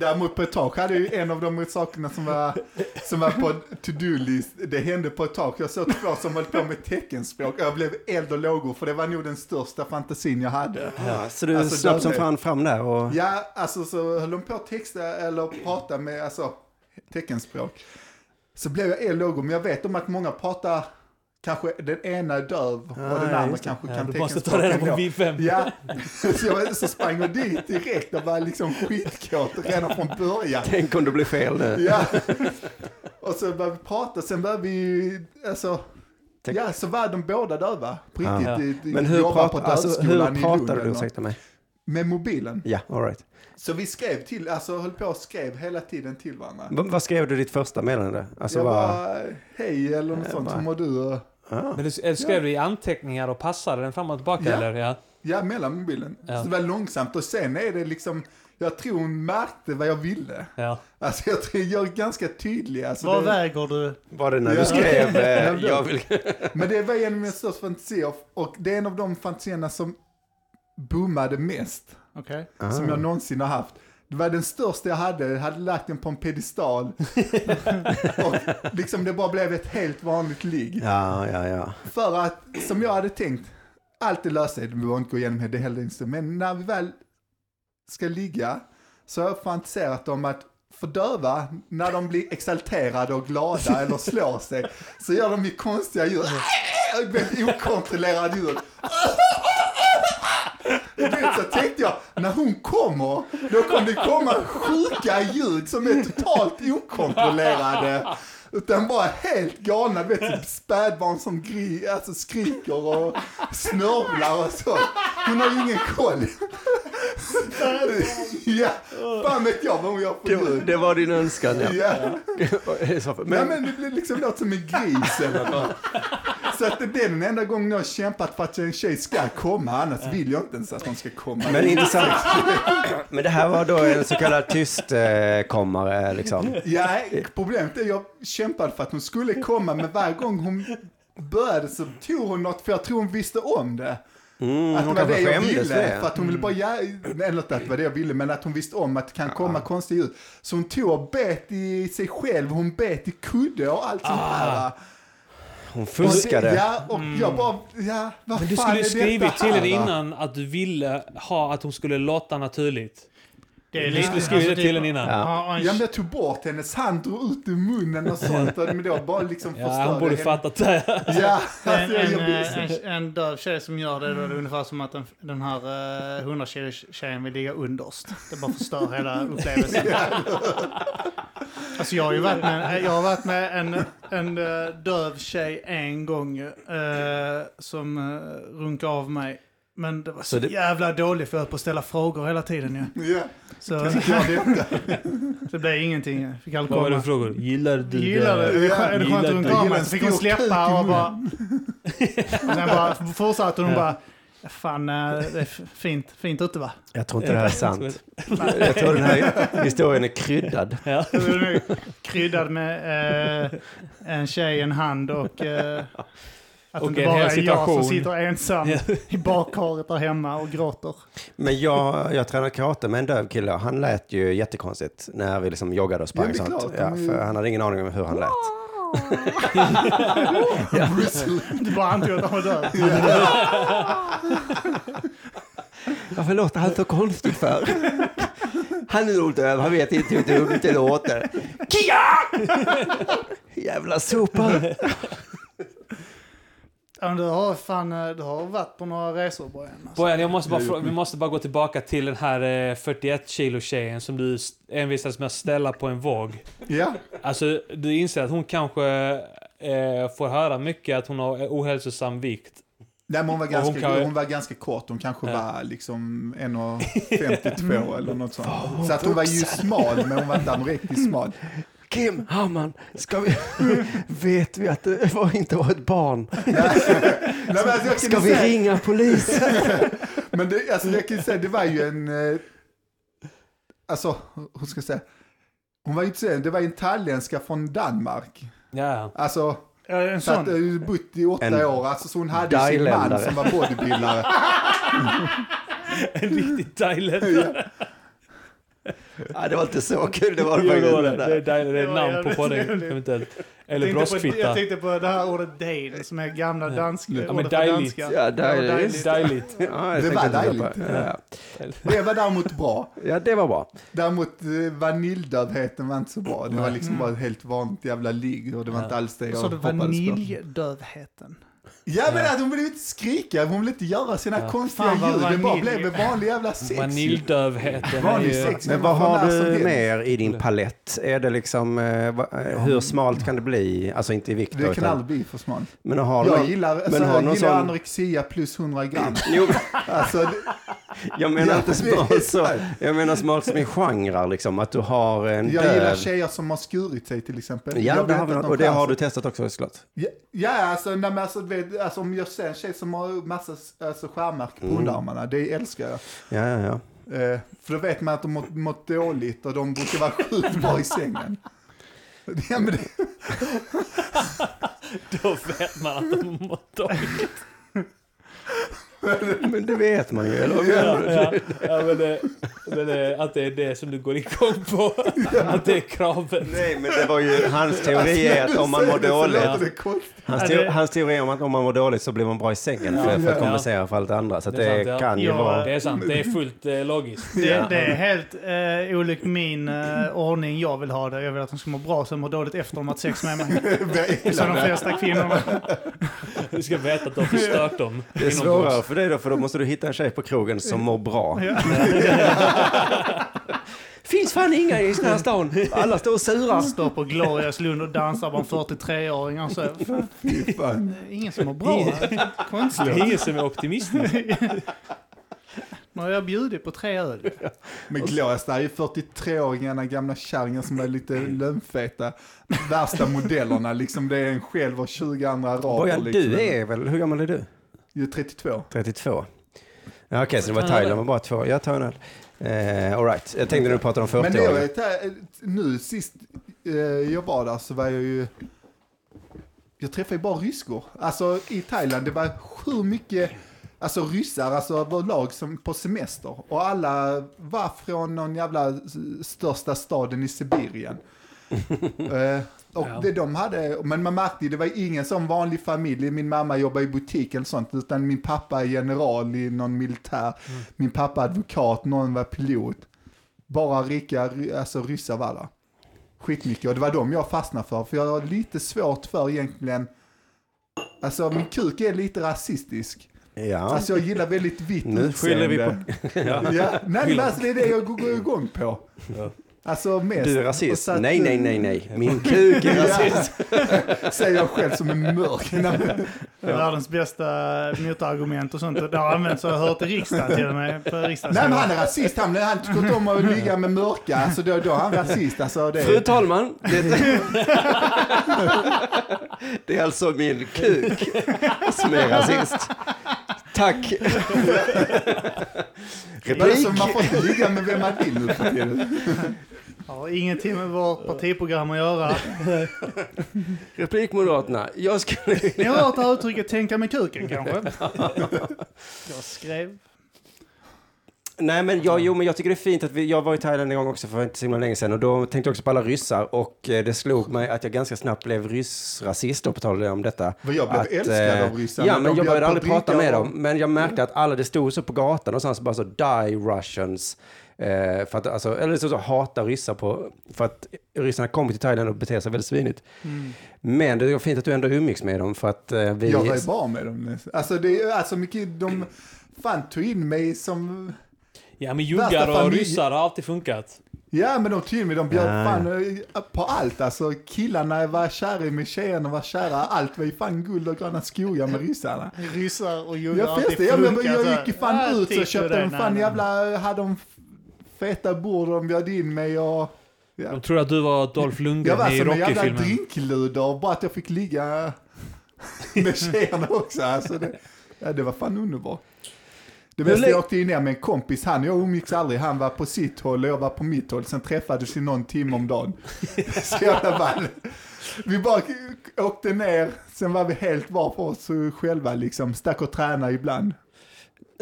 A: Däremot på ett tak hade ju en av de sakerna som var, som var på to-do-list, det hände på ett tak. Jag såg två som höll på med teckenspråk. Jag blev eld och lågor för det var nog den största fantasin jag hade.
D: ja så du
A: Alltså,
D: slapp som
A: där-
D: fan fram där och...
A: Ja, alltså så höll de på att texta eller prata med alltså, teckenspråk. Så blev jag eld och lågor, men jag vet om att många pratar, kanske den ena är döv och den
D: ja,
A: andra
D: just
A: kanske
B: Ja,
A: kan
B: du måste
A: teckenspråk
B: ta reda på
A: ändå.
B: min fem.
A: Ja, så jag så sprang jag dit direkt och var liksom skitkåt redan från början.
D: Tänk om det blir fel nu.
A: Ja. Och så började vi prata, sen började vi ju, alltså,
D: Tänk-
A: ja, så var de båda döva. På
D: Ja.
A: riktigt.
B: Ja.
A: i- i-
D: Men hur,
A: jobba
D: prat,
A: på
D: alltså, hur
A: dövskolan i Lund
D: pratar du?
A: eller något.
D: Ursäkta mig.
A: Med mobilen.
D: Ja, all right.
A: Så vi skrev till, alltså höll på och skrev hela tiden till varandra.
D: V- vad skrev du ditt första meddelande? Alltså,
A: jag
D: bara...
A: bara, hej eller något
D: Jag
A: sånt,
D: bara-
A: hur mår du? Och-
D: Ja.
B: Men du eller skrev du i anteckningar och passade den fram och tillbaka
A: Ja.
B: eller? Ja.
A: Ja, mellan mobilen.
B: Ja.
A: Så det var långsamt och sen är det liksom, Jag tror hon märkte vad jag ville.
B: Ja.
A: Alltså jag tror jag är ganska tydlig. Alltså,
C: Vad
A: det-
C: väger du?
D: Var det när
A: Ja.
D: du skrev eh,
A: Ja.
D: jag vill...
A: Men det var en av mina största fantasier och det är en av de fantasierna som boomade mest
C: Okej.
A: som
D: Ah.
A: jag någonsin har haft. Det var den största jag hade, jag hade lagt den på en pedestal. och liksom det bara blev ett helt vanligt ligg.
D: Ah. Ja, ja, ja.
A: För att, som jag hade tänkt, allt det löser sig, vi behöver inte gå igenom det heller inte. Men när vi väl ska ligga så har jag fantiserat om att fördöva när de blir exalterade och glada eller slår sig. Så gör de ju konstiga ljud. Jag blir Okontrollerade ljud. Och du vet, så tänkte jag, när hon kommer, då kommer det komma sjuka ljud som är totalt okontrollerade. Utan bara helt galna, du vet typ spädbarn som gri, alltså skriker och snörvlar och så. Hon har ju ingen koll. ja, fan vet jag vad hon gör för
D: Det,
A: ljud.
D: det var din önskan, ja.
A: Ja. Nej
D: Men,
A: men det blir liksom något som en gris eller något. Så att det är den enda gången jag har kämpat för att en tjej ska komma, annars vill jag inte ens att hon ska komma.
D: men intressant. Men det här var då en så kallad tystkommare, liksom.
A: Ja, problemet är jag kämpade för att hon skulle komma, men varje gång hon började så tog hon något, för jag tror hon visste om det.
D: Mm,
A: Att det var
D: hon
A: det
D: kanske
A: jag
D: skämdes för
A: ville, för
D: det. Mm.
A: att hon ville bara, ja, eller inte att det var det jag ville, men att hon visste om att det kan komma konstiga ljud. Så hon tog och bet i sig själv, hon bet i kudde och allt sånt här. va.
D: Hon
A: Och det-
D: Ah, fuskade.
A: Ja, och jag bara, ja, vad
B: Mm. Men du
A: fan
B: skulle ju
A: är detta
B: skrivit till
A: här,
B: henne
A: va?
B: innan att du ville ha att hon skulle låta naturligt.
C: Det är alltså, typ-
B: Du skulle skrivit det till henne innan.
D: Ja.
C: Ja, och en
A: Ja, men jag tog bort hennes hand, drog ut ur munnen och sånt, och- men då bara liksom
B: Ja, hon
A: förstörde
B: borde
A: henne.
B: fattat det.
A: Ja,
C: en,
A: alltså, jag,
C: en,
A: jag,
C: eh, en, en döv tjej som gör det, då är det ungefär som att den, den här eh, 100 kilo tjejen vill ligga underst. Det bara förstör hela upplevelsen. Alltså jag har ju varit med, jag har varit med en, en eh, döv tjej en gång eh, som eh, runkade av mig. Men det var så,
D: Så det-
C: jävla dåligt för jag höll på att ställa frågor hela tiden ju.
B: eh,
A: ja.
C: Så
A: Alltså, jag vet inte.
C: det blev ingenting. Jag fick aldrig
B: Vad var det
C: komma.
B: för frågor? Gillar du
C: Gillar det? Är det skönt- är det
B: Gillar
C: skönt att
B: du-
C: hon gav
A: gillar
C: mig?
A: en
C: Så fick hon
A: stor kuk i
C: släppa och
A: munnen.
C: bara... Och sen bara fortsatte hon bara... Fan, eh, det är f- fint, fint ute va?
D: Jag tror inte det här är sant. Jag tror den här historien är kryddad.
B: Ja.
C: Det var nog Kryddad med eh, en tjej, en hand och... Eh, att
B: Och
C: det inte
B: en
C: bara
B: hel
C: är jag
B: situation.
C: som sitter ensam i badkaret där hemma och gråter.
D: Men jag, jag tränade karate med en döv kille och han lät ju jättekonstigt när vi liksom joggade och
A: Ja,
D: sprang
A: det är
D: och sånt.
A: klart, Mm. de
D: Ja,
A: är ju-
D: för han hade ingen aning om hur han lät.
A: Bruce Lee.
C: Du bara antog att han var död.
D: Varför låter han så konstigt för? Han är nog döv, han vet inte hur dumt det låter. Kia! Jävla sopa!
C: Ja, men Du har fan, eh, du har varit på några resor Bojan. Alltså.
B: Bojan, jag måste bara, frå- vi måste bara gå tillbaka till den här eh, 41 kilo tjejen som du st- envisades med att ställa på en våg.
A: Ja,
B: Alltså, du inser att hon kanske eh, får höra mycket att hon har ohälsosam vikt.
A: Nej, men hon, var
B: Och hon
A: ganska,
B: kan ju-
A: hon var ganska kort, hon kanske
B: Ja. Mm.
A: var liksom 1,52 eller något sånt. Så att hon var ju smal, men hon var inte riktigt smal.
D: Kim Hamman, ska vi... vet vi att det var inte var ett barn?
A: Nej, men alltså, jag kan
D: Ska
A: ju
D: vi
A: säga,
D: ringa polisen?
A: men det, alltså, jag kan ju säga, det var ju en... eh, Alltså, hur ska jag säga? Hon var ju inte sen, det var ju en thailändska från Danmark.
B: Ja.
A: Alltså,
C: Ja, en
A: så att,
C: sån.
A: eh, bott i åtta
D: En
A: år, alltså, så hon hade ju sin man
D: thailändare.
A: som var bodybuildare.
B: En riktig thailändare.
D: Ja, det var inte så kul, det var
B: Jo,
D: det
B: det var det.
D: faktiskt.
B: Det är, Thailand, det är
C: Det var
B: namn på
C: jävligt
B: podden
C: roligt.
B: eventuellt. Eller
C: Jag tänkte, på, jag
B: broskfitta.
C: tänkte på det här ordet Dane som är gamla danska.
B: Ja, men
C: ordet för
B: dejligt.
C: danska.
D: Ja, dejligt.
B: Dejligt.
D: Ja, jag
A: Det
D: tänkte
A: var
D: inte på-
A: dejligt.
D: Ja,
A: Det var däremot bra.
D: Ja, det var bra.
A: Däremot eh, vaniljdövheten var inte så bra. Det var
C: Mm.
A: liksom bara ett helt vanligt jävla ligg och det var inte alls det jag
C: Så det
A: hoppades på.
C: vaniljdövheten.
A: Ja men att hon ville inte skrika, hon ville inte göra sina konstiga
C: Fan, vad
A: ljud. Det bara
C: vanilj.
A: blev ett vanligt jävla sex.
B: Vaniljdövheten är
A: Vanlig
B: ju...
A: sex.
D: Men
A: man
D: vad
A: får Liksom. när
D: har
A: som
D: du
A: helst.
D: mer i din palett? Är det liksom, eh, va- eh, hur smalt kan det bli? Alltså inte i vikt då,
A: Mm. Det kan
D: utan-
A: aldrig bli för smalt.
D: Men har du
A: Jag
D: någon-
A: gillar, alltså,
D: men har
A: jag
D: någon
A: gillar
D: sån-
A: anorexia plus 100 gram.
D: Jo,
A: Alltså, det,
D: jag menar
A: Ja,
D: inte
A: det är
D: smalt så.
A: sant.
D: Jag menar smalt som i genrer liksom. Att du har en
A: jag
D: döv...
A: gillar tjejer som har skurit sig till exempel.
D: Ja,
A: Jag
D: det
A: vet
D: har vi,
A: att de
D: och det
A: skär
D: har
A: sig.
D: du testat också såklart.
A: Ja, ja alltså, nej, men alltså, du vet,
D: Mm.
A: alltså om jag ser en tjej som har massa alltså, skärmärken på underarmarna, det älskar jag.
D: Ja, ja, ja.
A: Eh, för då vet man att de mått, mått dåligt och de brukar vara sjukt bra i sängen. Ja, men det,
B: Då vet man att de mått dåligt.
D: Men det vet man ju, eller hur?
B: Ja, ja, ja, men det, men det, att det är det som du går igång på. Att det är kravet.
D: Nej, men det var ju hans teori är att om man mår
A: Alltså, det så
D: dåligt.
A: låter det konstigt.
D: Hans,
C: Ja,
D: teo-
C: det-
D: hans teori är om att om man mår dåligt så blir man bra i sängen för, för att
A: Ja.
D: kompensera för allt det andra. Så att
B: Det är
D: det,
B: sant, ja.
D: kan ju
C: Ja.
D: vara...
B: Det är sant, det är fullt eh, logiskt.
C: Det, det är helt eh, olikt min eh, ordning jag vill ha det. Jag vill att de ska må bra och sen må dåligt efter de har haft sex med mig.
A: Vad
C: Som
A: illa
C: de
A: det är.
C: flesta kvinnorna.
B: Du ska veta att de har förstört dem.
D: Det är
B: inombords.
D: svårare för dig då, för då måste du hitta en tjej på krogen som mår bra.
C: Ja.
D: Finns fan inga i den här stan. Alla står och surar.
C: Står på Glorias Lund och dansar bland 43-åringar. Så, Alltså, fan,
A: Fy fan.
C: det är ingen som mår bra. här.
B: Det
C: Konstigt.
B: är ingen som är optimistisk.
C: Nu har jag bjudit på tre öl.
A: Men Glorias, det här är ju 43-åringarna, gamla kärringar som är lite lönnfeta. Värsta modellerna, liksom det är en själv och 20 andra araber.
D: Bojan,
A: Liksom.
D: du är väl... Hur gammal är du?
A: Jag är 32.
D: 32. Ja, Okej, så det var Thailand, men bara två. Jag tar en öl. Eh, all right. Jag tänkte när du pratade om
A: Men det jag
D: 40-åringar.
A: vet, är- nu sist eh, jag var där så var jag ju... Jag träffade ju bara ryskor. Alltså i Thailand, det var hur mycket alltså, ryssar alltså, överlag som på semester. Och alla var från någon jävla s- största staden i Sibirien. eh, och
B: Ja.
A: det de hade, men man märkte ju, det var ingen sån vanlig familj. Min mamma jobbar i butik eller sånt, utan min pappa är general i någon militär. Min pappa är advokat, någon var pilot. Bara rika, ry- alltså ryssar var där. Skitmycket, och det var de jag fastnade för. För jag har lite svårt för egentligen, alltså min kuk är lite rasistisk.
D: Ja.
A: Alltså jag gillar väldigt vitt
D: Nu skyller vi på-
A: ja. Ja, nej men alltså det är det jag går går igång på. Alltså mest.
D: Du är
A: Och
D: rasist.
A: så att-
D: Nej, nej, nej, nej. Min kuk är rasist.
A: Ja, säger jag själv som är mörk. Nej, men-
C: Världens bästa motargument och sånt. Och Det har använts och jag har hört i riksdagen till och med. På
A: Nej men
C: riksdagen.
A: han är rasist, han, han tycker inte om att ligga med mörka, alltså då, då är han rasist. Alltså, det
D: Fru
A: är,
D: talman. Det... det är alltså min kuk som är rasist. Tack.
A: Men alltså,
D: Replik.
A: man får inte ligga med vem man vill nu för tiden.
C: Har ingenting med vårt partiprogram att göra.
D: Replik Moderaterna. Jag skulle...
C: Ni har hört det här uttrycket tänka med kuken kanske? Jag skrev.
D: Nej, men jag, jo, men jag tycker det är fint att vi, jag var i Thailand en gång också för inte så himla länge sedan och då tänkte jag också på alla ryssar och eh, det slog mig att jag ganska snabbt blev ryssrasist då på tal om detta.
A: För jag blev
D: att,
A: älskad
D: eh,
A: av ryssar,
D: Ja,
A: men
D: men
A: de bjöd
D: jag började
A: på
D: aldrig prata med
A: drinkar
D: dem, men jag märkte att alla, det stod så på gatan och sen så bara så die Russians. Eh, för att, alltså, eller så, så hata ryssar på, för att ryssarna kommer till Thailand och beter sig väldigt svinigt. Men det var fint att du ändå umgicks med dem för att eh, vi...
A: Mm. Jag var ju bra med dem. Alltså det är alltså mycket, de fan tog in mig som,
B: Ja men
A: Värsta
B: juggar och
A: familj.
B: ryssar har alltid funkat.
A: ja men de tog in mig, de bjöd
D: Ja.
A: fan eh, på allt. Alltså killarna var kära i mig, tjejerna var kära, allt var ju fan guld och gröna skogar med ryssarna.
C: Ryssar och judar
A: Jag festade, jag, jag, jag gick ju fan ut och köpte en fan jävla, hade de feta bord de bjöd in mig och
B: De trodde att du var Dolph
A: jag var
B: Lundgren i
A: som en jävla
B: Rocky-filmen.
A: drinkluder, bara att jag fick ligga med tjejerna också. Alltså det, ja, det var fan underbart. Det bästa, jag åkte ju ner med en kompis, han och jag umgicks aldrig, han var på sitt håll och jag var på mitt håll, sen träffades vi någon timme om dagen. Så jävla ball. Vi bara åkte ner, sen var vi helt var för oss själva liksom, stack och tränade ibland.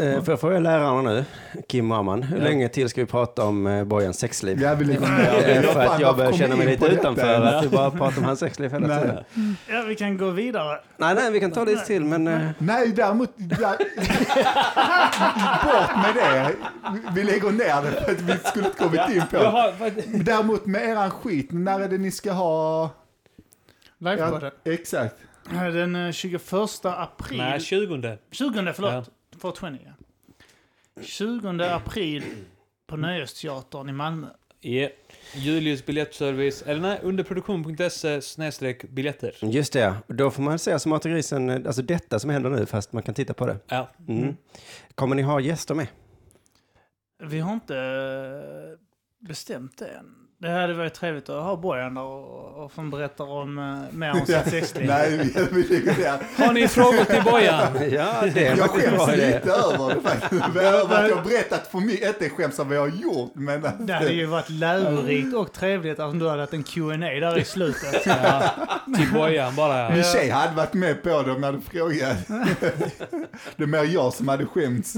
D: Eh, får jag fråga lärarna nu, Kim och Amman, hur
B: Ja.
D: länge till ska vi prata om eh, Bojans sexliv?
A: Jag vill inte mer.
D: Eh, för
A: Fan,
D: att jag
A: varför
D: börjar
A: kom
D: känna mig
A: in
D: lite
A: på detta?
D: utanför, att du bara pratar om hans sexliv hela
A: Nej.
D: tiden.
C: Ja, vi kan gå vidare.
D: Nej, nej, vi kan ta lite till, men... eh,
A: Nej, däremot... Där, bort med det. Vi lägger ner det för att vi skulle inte kommit in på
B: Jag
A: det.
B: har, vad-
A: Däremot med eran skit, när är det ni ska ha...
C: Lifepodden.
A: exakt.
C: Den eh, 21 april.
B: nej, 20.
C: 20 förlåt. 420 ja. 20 april på Nöjesteatern i Malmö.
B: Yeah. Julius biljettservice, eller nej, underproduktion.se E snedstreck biljetter.
D: Just det, då får man säga som Mat och grisen, eh, alltså detta som händer nu, fast man kan titta på det.
B: Ja.
D: Mm. Kommer ni ha gäster med?
C: Vi har inte eh, bestämt det än. Det hade varit trevligt att ha Bojan där och, och som berättar om, eh, mer om sitt sexliv.
A: Nej, vi, vi ligger där.
B: Har ni frågor till Bojan?
D: Ja, det är
A: Jag
D: faktiskt en
A: skäms
D: bra idé.
A: lite över det faktiskt. Över att jag har berättat för mycket. Inte skäms över vad jag har gjort, men... att-
C: Det hade ju varit lärorikt och trevligt om du hade haft en Q&A där i slutet.
B: Ja, till Bojan bara.
A: Min tjej hade varit med på det om jag hade frågat. Det är mer jag som hade skämts.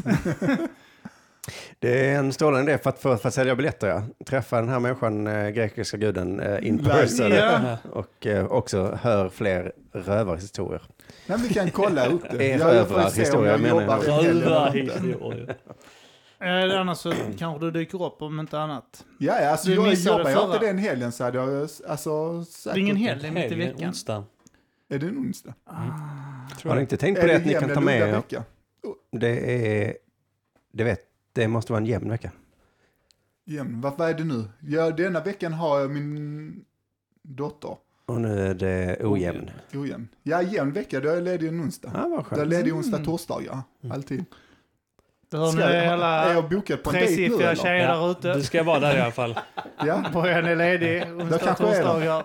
D: Det är en strålande idé för att, för, för att sälja biljetter. Ja. Träffa den här människan, eh, grekiska guden, eh, in
A: Live.
D: person.
B: Ja.
D: Och eh, också hör fler rövarhistorier.
A: Nej, vi kan kolla upp det.
D: Er
A: Jag får
D: överallt
A: se om
D: historia,
A: jag
D: menar
A: jobbar
D: jag.
A: en hel del eller inte.
E: historier.
C: Eh, Annars så kanske du dyker upp om inte annat.
A: Ja, ja, alltså
C: Du
A: jag
C: missade
A: jobbar jag
C: förra.
A: inte den helgen så hade jag alltså
C: Det
A: säkert...
C: är ingen helg, det är mitt i
B: Helgen,
C: veckan.
B: Onsdagen.
A: Är det en onsdag?
D: Har ni inte tänkt på
A: är
D: det, att ni
A: jämn
D: kan ta
A: eller udda
D: med er?
A: vecka?
D: Det är, det vet, det måste vara en jämn vecka.
A: Jämn. Vad, vad är det nu? Ja, denna veckan har jag min dotter.
D: Och nu är det ojämn.
A: Ojämn. Ja, jämn vecka. Då är jag ledig en onsdag.
D: Ja,
A: Då
D: vad
A: är jag
D: Ah, skönt. Mm.
A: ledig onsdag, torsdagar. Alltid.
C: Det hör ni
A: Ska jag, är
C: alla
A: jag bokad på en dejt nu
C: tresiffriga
A: eller?
C: tjejer där ute.
B: Du ska vara där i alla fall.
A: Ja.
C: Bojan är ledig onsdag
A: kanske är det.
C: torsdagar.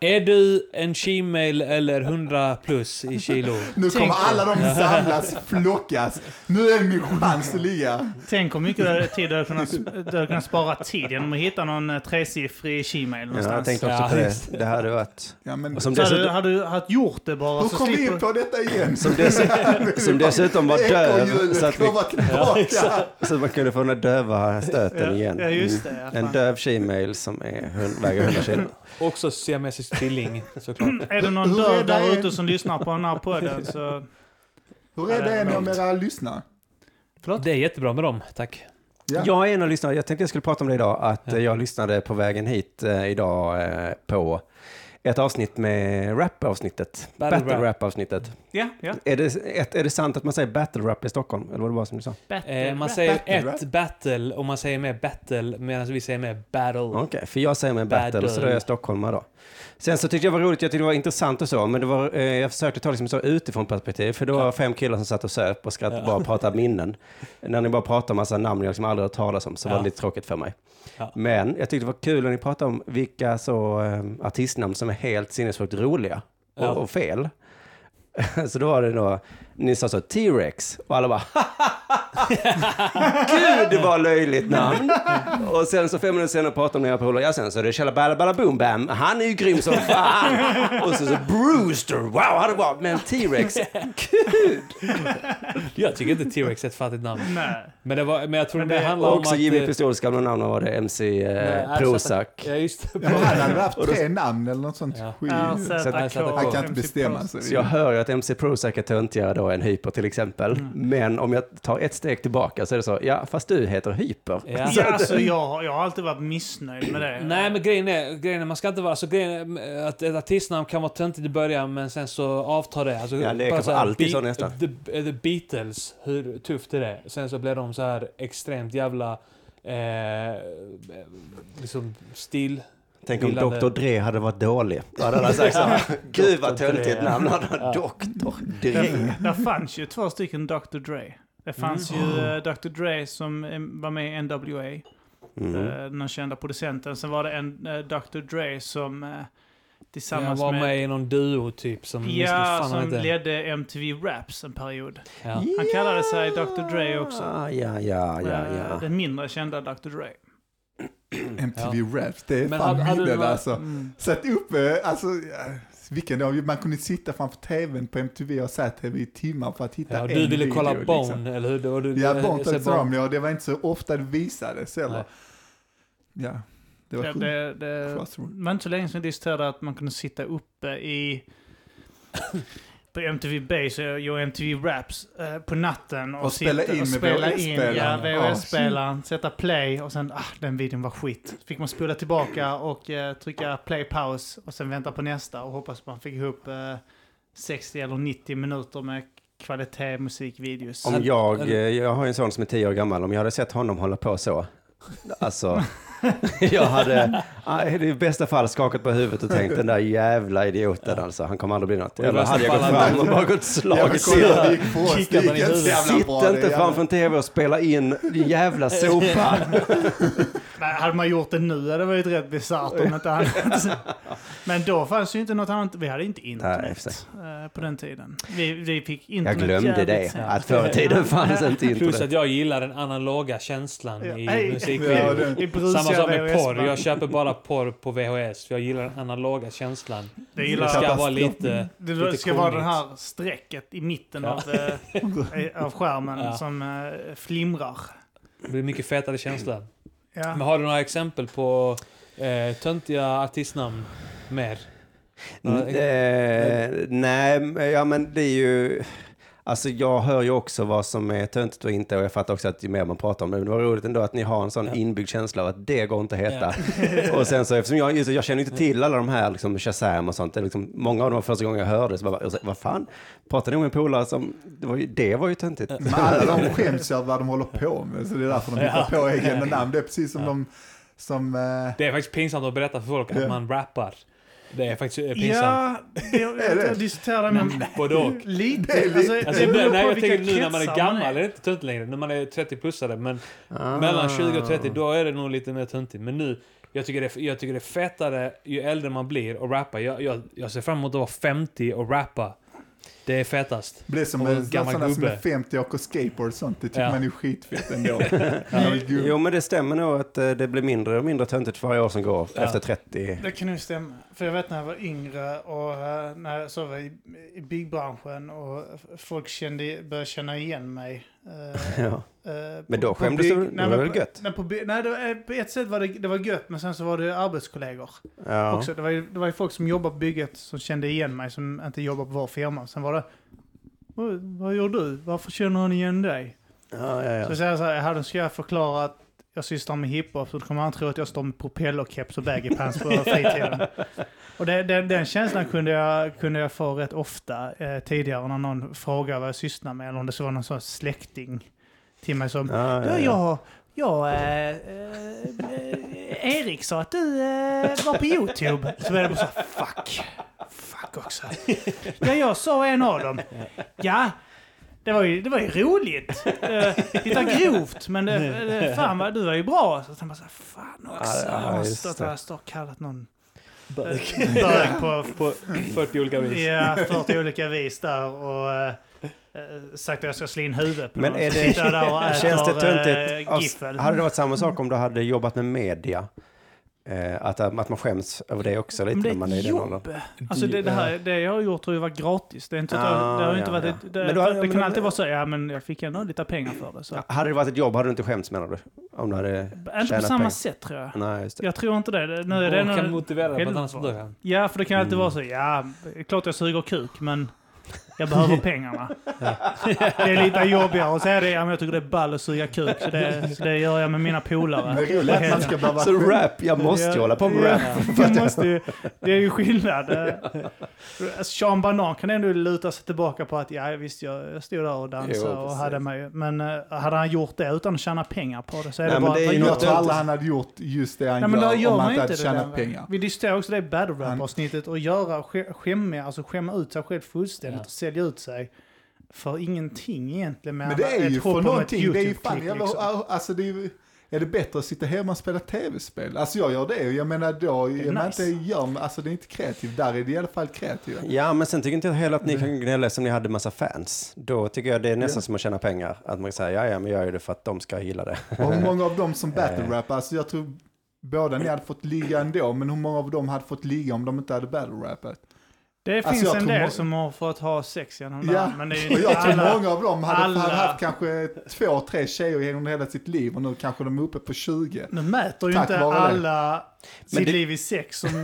B: Är du en shemale eller 100 plus i kilo?
A: Nu
C: Tänk
A: kommer alla de samlas, flockas. Nu är det min chans att ligga.
C: Tänk hur mycket tid du hade kunnat, du hade kunnat spara tid genom att hitta någon eh, tresiffrig Gmail
D: Ja, jag
C: någonstans.
D: tänkte
B: någonstans.
D: också på
B: Ja,
D: det.
B: just
D: Det hade varit...
A: Ja, men,
D: och Som
C: så hade, du-
D: dessutom,
C: hade du hade gjort det bara
A: Hur
C: så
A: kom vi in
C: slipper...
A: på detta igen?
D: som dessutom, som dessutom var döv. Så
A: Ekorrhjulet
D: att, vi,
A: kommer tillbaka.
D: så att man kunde få den där döva
C: Ja,
D: stöten igen. Mm.
C: ja, just
A: Mm.
C: det. Ja,
D: En
C: fan.
D: döv tjejmail som är, hund- väger 100 kilo.
B: Också siamesisk tvilling såklart.
C: Är det någon
A: Hur är
C: döv
A: det-
C: där ute som lyssnar på den här podden så...
A: Hur är det med om era lyssnare?
B: Det är jättebra med dem, tack.
A: Ja.
D: Jag är en av lyssnarna. Jag tänkte jag skulle prata om det idag. Att eh, jag lyssnade på vägen hit eh, idag eh, på ett avsnitt med rap-avsnittet.
B: Battle
D: Battle
B: rap.
D: rap-avsnittet.
C: Ja, ja.
D: Är, det, ett, är det sant att man säger battle rap i Stockholm? Eller var det bara som du sa?
B: Eh, man
C: rap.
B: säger
A: Battle
B: ett battle och man säger mer battle medan vi säger mer battle.
D: Okej, för jag säger med battle,
B: Battle.
D: så då är jag stockholmare då. Sen så tyckte jag det var roligt, jag tyckte det var intressant och så, men det var, eh, jag försökte ta liksom så utifrån perspektiv, för det var fem killar som satt och söp och skrattade
B: Ja.
D: bara och pratade minnen. När ni bara pratade om massa namn jag liksom aldrig hört talas om, så var
B: Ja.
D: det lite tråkigt för mig.
B: Ja.
D: Men jag tyckte det var kul när ni pratade om vilka så eh, artistnamn som är helt sinnessjukt roliga och,
B: Ja.
D: och fel. Så då var det då, ni sa så T-Rex och alla bara Gud, det var löjligt namn. Och sen så fem minuter senare pratade de med era polare. Ja, sen så är det Kjella Balla Balla Boom Bam. Han är ju grym som fan. Och så så Brewster. Wow, han är bra. Men T-Rex.
B: Jag tycker inte T-Rex är ett fattigt namn.
C: Nej.
B: Men, det var, men jag tror
C: Men
B: det,
C: det-
B: handlar
D: Och
B: om
D: också
B: att...
D: Jimmy
B: eh,
D: Pistols gamla namn. Vad var det? MC
B: nej,
D: eh,
B: ersätta-
D: Prozac.
B: Ja, just det.
A: Ja, men han hade haft tre namn eller något sånt
B: Ja.
A: skit.
C: RZK,
A: Han kan inte bestämma
C: MC
A: sig.
D: Så jag hör ju att MC Prozac är töntigare då än Hyper till exempel.
C: Mm.
D: Men om jag tar ett steg tillbaka så är det så. Ja, fast du heter Hyper.
B: Ja.
C: Ja, alltså, jag, har- jag har alltid varit missnöjd med det.
B: Nej men grejen är, grejen är, man ska inte vara, alltså grejen är, att ett artistnamn kan vara töntigt i början men sen så avtar det. Alltså,
D: Ja, det
B: bara
D: är kanske
B: så här,
D: alltid
B: Be-
D: så nästan.
B: The, the Beatles, hur tufft är det? Sen så blir de så här extremt jävla, eh, liksom stil...
D: Tänk om
B: Gillande.
D: Dr. Dre hade varit dålig. Då hade alla sagt så här, Gud vad
B: Dr. Dre,
D: töntigt
B: ja.
D: namn. Dr. Dre.
C: Där fanns ju två stycken Dr. Dre. Det fanns ju
A: Mm.
C: eh, Dr. Dre som eh, var med i NWA.
D: Mm.
C: eh, den kända producenten. Sen var det en eh, Dr. Dre som eh,
B: Han
C: tillsammans
B: var
C: med...
B: med i någon duo typ som...
D: Mm,
C: Ja,
B: fan han
C: som
B: heter.
C: ledde MTV Raps en period.
B: Ja.
C: Han kallade sig Dr. Dre också.
D: Ja, ja, ja, ja.
C: Eh,
D: ja.
C: Den mindre kända Dr. Dre.
A: MTV Raps, det är
B: Men
A: fan
B: hade- hade
A: minnen
B: du-
A: alltså.
C: Mm.
A: Satt uppe, alltså, ja, vilken dag, man kunde sitta framför tvn på MTV och säga tv i timmar för att hitta
B: Ja, och
A: en
B: du ville
A: video,
B: kolla
A: liksom.
B: Bone, eller hur? Det var du,
A: Ja,
B: du-
A: Bone
B: så
A: tyckte
B: Bone-
A: om det och det var inte så ofta det visades
B: Nej.
A: eller. Ja, det var
C: Det,
A: sjukt.
C: det, det
A: Crossroad.
C: var inte så länge sedan vi diskuterade att man kunde sitta uppe i... På MTV Base eh, och och MTV Raps eh, på natten och,
A: Och spela
C: sitta,
A: in
C: och
A: med
C: spela in ja,
A: VHS-spelaren. Ja,
C: VHS-spelaren, sätta play och sen ah, den videon var skit. Fick man spola tillbaka och eh, trycka play paus och sen vänta på nästa och hoppas man fick ihop eh, 60 eller 90 minuter med kvalitet musikvideos.
D: Om jag, eh, jag har ju en son som är tio år gammal, om jag hade sett honom hålla på så, Alltså, jag hade ah, i bästa fall skakat på huvudet och tänkt den där jävla idioten alltså, han kommer aldrig bli något.
B: Och i
D: Eller
B: värsta
D: hade jag gått
B: fall
D: fram
B: hade-
D: och bara gått och
A: Jag vill
D: slagit
A: kolla hur det
D: sig.
A: gick för oss.
B: Kickar
A: Det
B: man i
A: gick inte så
B: huvudet.
A: jävla bra.
D: Sitt
A: det
D: inte
A: jävla-
D: framför en tv och spela in jävla sopa.
C: Nej, hade man gjort det nu hade det varit rätt bisarrt om inte annat. Men då fanns ju inte något annat. Vi hade inte
D: Nej, i och för
C: internet eh, på den tiden. Vi, vi fick
D: Jag
C: internet
D: glömde
C: jävligt
D: det,
C: sent.
D: att förr i tiden fanns inte
B: Plus
D: internet.
B: att jag gillar den analoga känslan
C: Ja.
B: i
C: Nej.
A: Ja,
B: musikvideon.
A: det-
C: I brusiga
B: Samma sak med porr.
C: VHS-band.
B: Jag köper bara porr på VHS för jag gillar den analoga känslan.
C: Det
B: Det
C: gillar
B: ska
A: Katastrof.
B: vara lite...
C: Det
B: Lite
C: ska vara det
B: kungligt.
C: här strecket i mitten
B: Ja.
C: av, eh, av skärmen
B: Ja.
C: som eh, flimrar.
B: Det blir mycket fetare känsla. Men
C: Ja.
B: har du några exempel på eh, töntiga artistnamn? Mer?
D: Mm,
B: Några-
D: Eh, nej, men- ja men det är ju... Alltså jag hör ju också vad som är töntigt och inte och jag fattar också att ju mer man pratar om det, men det var roligt ändå att ni har en sån
B: Ja.
D: inbyggd känsla av att det går inte att heta. och sen så eftersom jag, just, jag känner inte till alla de här liksom Shazam och sånt, det är liksom, många av dem var första gången jag hörde så bara, jag sa, vad fan, pratade ni med en polare som, det var ju, det var ju töntigt.
A: Men alla de skäms ju över vad de håller på med, så det är därför de hittar på egna namn. Det är precis som de som... eh,
B: Det är faktiskt pinsamt att berätta för folk att
A: Ja.
B: man rappar. Det är faktiskt eh, pinsamt.
C: Ja, det, jag, jag diskuterade med honom
B: Både och.
C: lite.
A: Det är lite-
B: Alltså, jag, blir-
C: beror
B: nej,
C: på
B: jag
C: vilka
B: tänker nu när man är
C: kretsar
B: gammal är det inte töntigt längre. När man är 30-plussare. Men
D: Ah.
B: mellan 20 och 30, då är det nog lite mer töntigt. Men nu, jag tycker, det, jag tycker det är fetare ju äldre man blir och rappa. Jag, jag, jag ser fram emot att vara 50 och rappa. Det är fetast.
A: blir som
B: Och
A: en
B: en gammal
A: sådana som är
B: gubbe.
A: 50 och åker skateboard och sånt. Det tycker
B: Ja.
A: man är skitfett ändå.
D: Jo men det stämmer nog att eh, det blir mindre och mindre töntigt för varje år som går
B: Ja.
D: efter 30.
C: Det kan ju stämma. För jag vet när jag var yngre och eh, när jag sov i, i byggbranschen och folk kände, började känna igen mig. eh,
D: Ja.
C: eh,
D: Men
C: på-
D: då
C: på
D: skämdes
C: bygg-
D: du väl? Det
C: Nej,
D: var
C: men
D: väl
C: på-
D: gött?
C: Nej, på, bygg- nej det var, eh, på ett sätt var det, det var gött, men sen så var det arbetskollegor.
D: Ja.
C: Också, det, var ju, det var ju folk som jobbade på bygget som kände igen mig som inte jobbade på vår firma. Sen var det, vad, vad gör du? Varför känner han igen dig?
D: Ja, ja, ja.
C: Så säger jag så här, hade ska jag förklara att jag sysslar med hiphop så kommer han tro att jag står med propellerkeps och baggypants på fritiden. och det, den, den känslan kunde jag, kunde jag få rätt ofta eh, tidigare när någon frågade vad jag sysslar med eller om det så var någon sån släkting till mig som
D: Ja,
C: Ja,
D: ja, ja.
C: jag, jag eh, eh, Erik sa att du eh, var på YouTube. Så började jag bara så här, fuck. Fuck också. Ja, jag sa en av dem. Ja, det var ju, det var ju roligt. Eh, Lite grovt, men det, det, fan vad, du var ju bra. Så han bara så här, fan också.
D: Ja, ja,
C: Jag
D: just
C: måste att
D: det.
C: jag står och kallat någon
B: Bög.
C: eh, bög på
B: På 40 olika vis.
C: ja, 40 eh, olika vis där och eh, eh, sagt att jag ska slå in huvudet på
D: Men
C: någon
D: är
C: som
D: det-
C: sitter där och äter,
D: Känns det
C: eh,
D: töntigt?
C: giffel.
D: Alltså, hade det varit samma sak om du hade jobbat med media? Eh, att, att man skäms över det också lite
C: Men det
D: när man
C: är
D: är i
C: ett
D: den åldern.
C: jobb. Alltså det, det, här, det jag har gjort har ju varit gratis. Det, är inte, så att jag-
D: Ah,
C: det har ju inte
D: ja,
C: varit...
D: ja.
C: ett- Det,
D: Men då har-
C: det
D: men
C: kan
D: då-
C: alltid vara så, ja men jag fick ändå lite pengar för det. Så.
D: Ja, Hade det varit ett jobb hade du inte skämts menar du? Om du hade
C: inte på
D: tjänat
C: samma
D: pengar.
C: sätt tror jag.
D: Nej, just det.
C: Jag tror inte det. det. Nu är
B: Och
C: det
B: kan
C: nog,
B: motivera det på ett
C: Helvete.
B: annat sätt. då, ja.
C: ja, för det kan alltid
D: Mm.
C: vara så, ja, det är klart jag suger kuk, men jag behöver pengarna. Det är lite jobbigare att säga det, ja men jag tycker det är ball att suga kuk, så det, så det gör jag med mina
A: Men det
C: polare.
A: är roligt att man ska behöva...
D: Så rap, jag måste ju
C: Ja,
D: hålla på med
C: ja.
D: rap.
C: Jag måste ju, det är ju skillnad. Eh, Sean Banan kan ändå luta sig tillbaka på att ja, visst jag, jag stod där och dansade
D: Jo,
C: och
D: precis.
C: hade mig. Men eh, hade han gjort det utan att tjäna pengar på det så är
D: Nej,
C: det
D: men
C: bara...
D: det är
C: vad
D: ju
C: gör
D: något
A: Jag tror
C: du?
A: alla han hade gjort just det han
C: Nej men då
A: gör
C: gör
A: om han
C: man
A: inte
C: ju
A: hade
C: inte det
A: tjänat
C: där.
A: pengar.
C: Vi diskuterar också det battle rap avsnittet och göra, sk- skämma, alltså skämma ut sig själv fullständigt
B: Ja.
C: och sälja ut sig. För ingenting egentligen.
A: Men det är
C: ett
A: ju
C: hopp om
A: för
C: ett
A: någonting. Det är ju
C: YouTube-klick,
A: fan jävla...
C: liksom.
A: Alltså det är ju... Är det bättre att sitta hemma och spela tv-spel? Alltså jag gör det. Jag menar då,
C: Det är
A: man
C: nice.
A: inte gör, men alltså det är inte kreativt. Där är det i alla fall kreativt.
D: Ja, men sen tycker inte jag heller att ni kan gnälla som ni hade massa fans. Då tycker jag det är nästan som att tjäna pengar. Att man säger, ja, ja, men jag gör ju det för att de ska gilla det.
A: Och hur många av dem som
C: Eh.
A: battle-rappar, alltså jag tror båda ni hade fått ligga ändå, men hur många av dem hade fått ligga om de inte hade battle-rappat?
C: Det
A: Alltså,
C: finns
A: jag
C: en
A: tror
C: del
A: må-
C: som har fått ha sex genom det
A: Ja,
C: här, men det är ju
A: och
C: inte
A: jag tror
C: alla.
A: många av dem hade
C: alla.
A: fan haft kanske två, tre tjejer genom hela sitt liv och nu kanske de är uppe på 20.
C: Nu mäter ju
A: Tack
C: inte
A: vare det.
C: alla sitt
D: det-
C: liv i sex som, som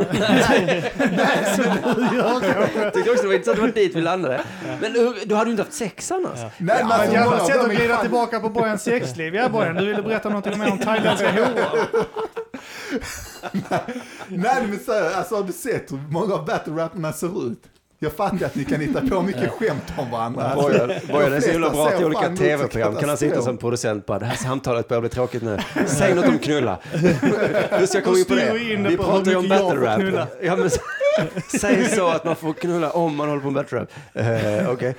C: du gör.
D: Jag tyckte också det var intressant, det var dit vi landade. Men du hade ju inte haft sex annars.
A: Nej, men
C: Men
A: alltså, många
C: jävla
A: av
C: sätt att
A: dem är
C: glida
A: fan-
C: tillbaka på Bojans sexliv. Ja Bojan, du ville berätta någonting mer om thailändska horor.
A: Nej men så, här, alltså har du sett hur många av battle-rapparna ser ut? Jag fattar att ni kan hitta på mycket skämt om varandra.
D: Bojan Bojan är så himla bra till olika
A: fan ut som
D: tv-program. Kan han sitta
A: katastrof.
D: som producent bara, det här samtalet börjar bli tråkigt nu. Säg något om knulla. Just jag kom in på
C: styr
D: det.
C: vi in det
D: Vi
C: på
D: pratar ju
C: hur
D: om
C: mycket jag
D: battle
C: får
D: rap.
C: knulla.
D: Ja, men, s- säg så att man får knulla om man håller på med battle rap. Eh, Okej.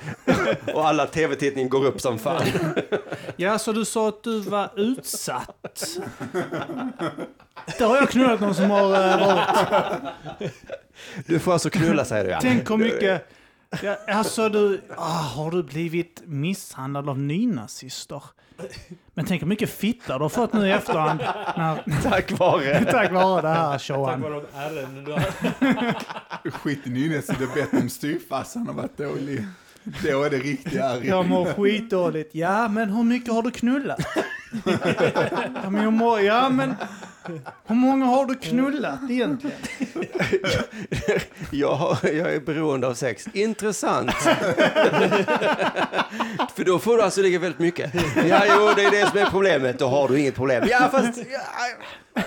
D: Och alla tv-tittning går upp som fan.
C: Ja, så du sa att du var utsatt. Där har jag knullat någon som har eh, varit.
D: Du får alltså knulla säger du ja.
C: Tänk hur mycket... Ja, alltså du... Ah, har du blivit misshandlad av nynazister? Men tänk hur mycket fitta du har fått nu i efterhand. När,
D: Tack vare.
C: tack vare det här
B: Tack
C: showan.
B: vare de ärenden du har.
A: Alltså, Skit i Nynäs, det är bättre om styvfarsan har varit dålig. Då är det riktigt arg.
C: Jag mår skitdåligt. Ja, men hur mycket har du knullat? ja, men jag mår, ja, men hur många har du knullat egentligen?
D: Jag, har, jag är beroende av sex. Intressant. För då får du alltså ligga väldigt mycket. Ja, jo, det är det som är problemet. Då har du inget problem. Ja, fast... Ja,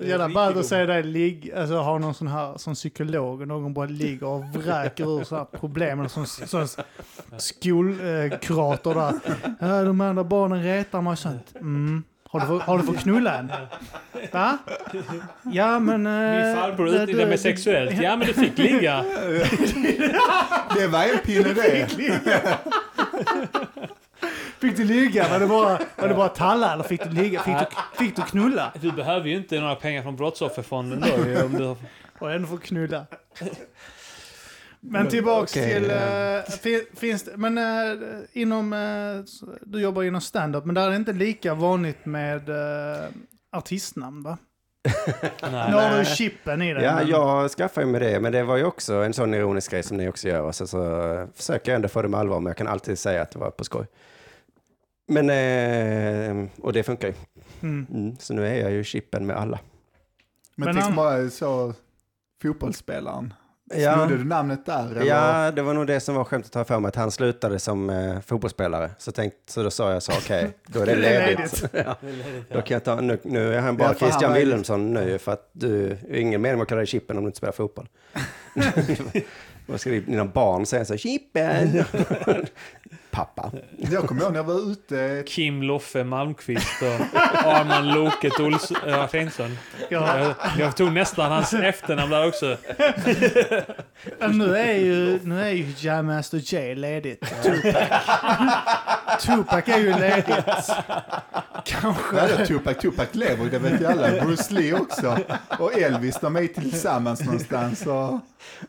C: Jävla ballt att se dig ligga, alltså ha någon sån här som psykolog och någon bara ligger och vräker ur så här problemen som sån skolkrater där. Ja, de andra barnen retar mig och sånt. Mm. Har du, fått- har du fått knulla än? Va? Ja men... eh,
B: Min farbror
C: det-
B: utnyttjade mig
C: det-
B: sexuellt. Ja, men du fick ligga.
A: Det var en pinne det.
C: Fick du ligga? Var det bara, var det bara talla eller fick du ligga? Fick du, fick du knulla?
B: Du behöver ju inte några pengar från Brottsofferfonden då. ju, Om du har...
C: Och ändå får knulla. Men tillbaks
D: Okej,
C: till...
D: ja.
C: eh, fin, finns det, men eh, inom... eh, s- du jobbar inom stand-up, men där är det inte lika vanligt med eh, artistnamn va?
B: Nej.
C: Nu har du chippen i dig.
D: Ja,
C: men-
D: jag skaffade ju med det, men det var ju också en sån ironisk grej som ni också gör. Och sen så försöker jag ändå få det med allvar, men jag kan alltid säga att det var på skoj. Men, eh, och det funkar ju.
C: Mm.
D: Mm, så nu är jag ju chippen med alla.
A: Men,
C: Men
A: tänk
C: han-
A: bara så, fotbollsspelaren.
D: Ja,
A: Snodde du namnet där? Eller?
D: ja, det var nog det som var skämtet här för mig, att han slutade som eh, fotbollsspelare. Så, tänkt, så då sa jag så, okej, då är det
C: Det är
D: ledigt. ja. Då kan jag ta, nu, nu är han bara
A: Ja, för han
D: Christian
A: var ju-
D: Wilhelmsson nu, för att du, det är ingen mening med att kalla dig chippen om du inte spelar fotboll. Vad ska dina barn säga så, chippen? Pappa.
A: Jag kommer ihåg när jag var ute,
B: Kim Loffe Malmqvist och Arman Loket Ols- äh, Artensson.
C: Ja,
B: Jag, jag tog nästan hans efternamn där också.
C: men nu är ju, nu är ju Jam Master J ledigt. Tupac. Tupac är ju ledigt. Kanske.
A: Ja, det är Tupac, Tupac lever, det vet ju alla. Bruce Lee också. Och Elvis, de är ju tillsammans någonstans. Och...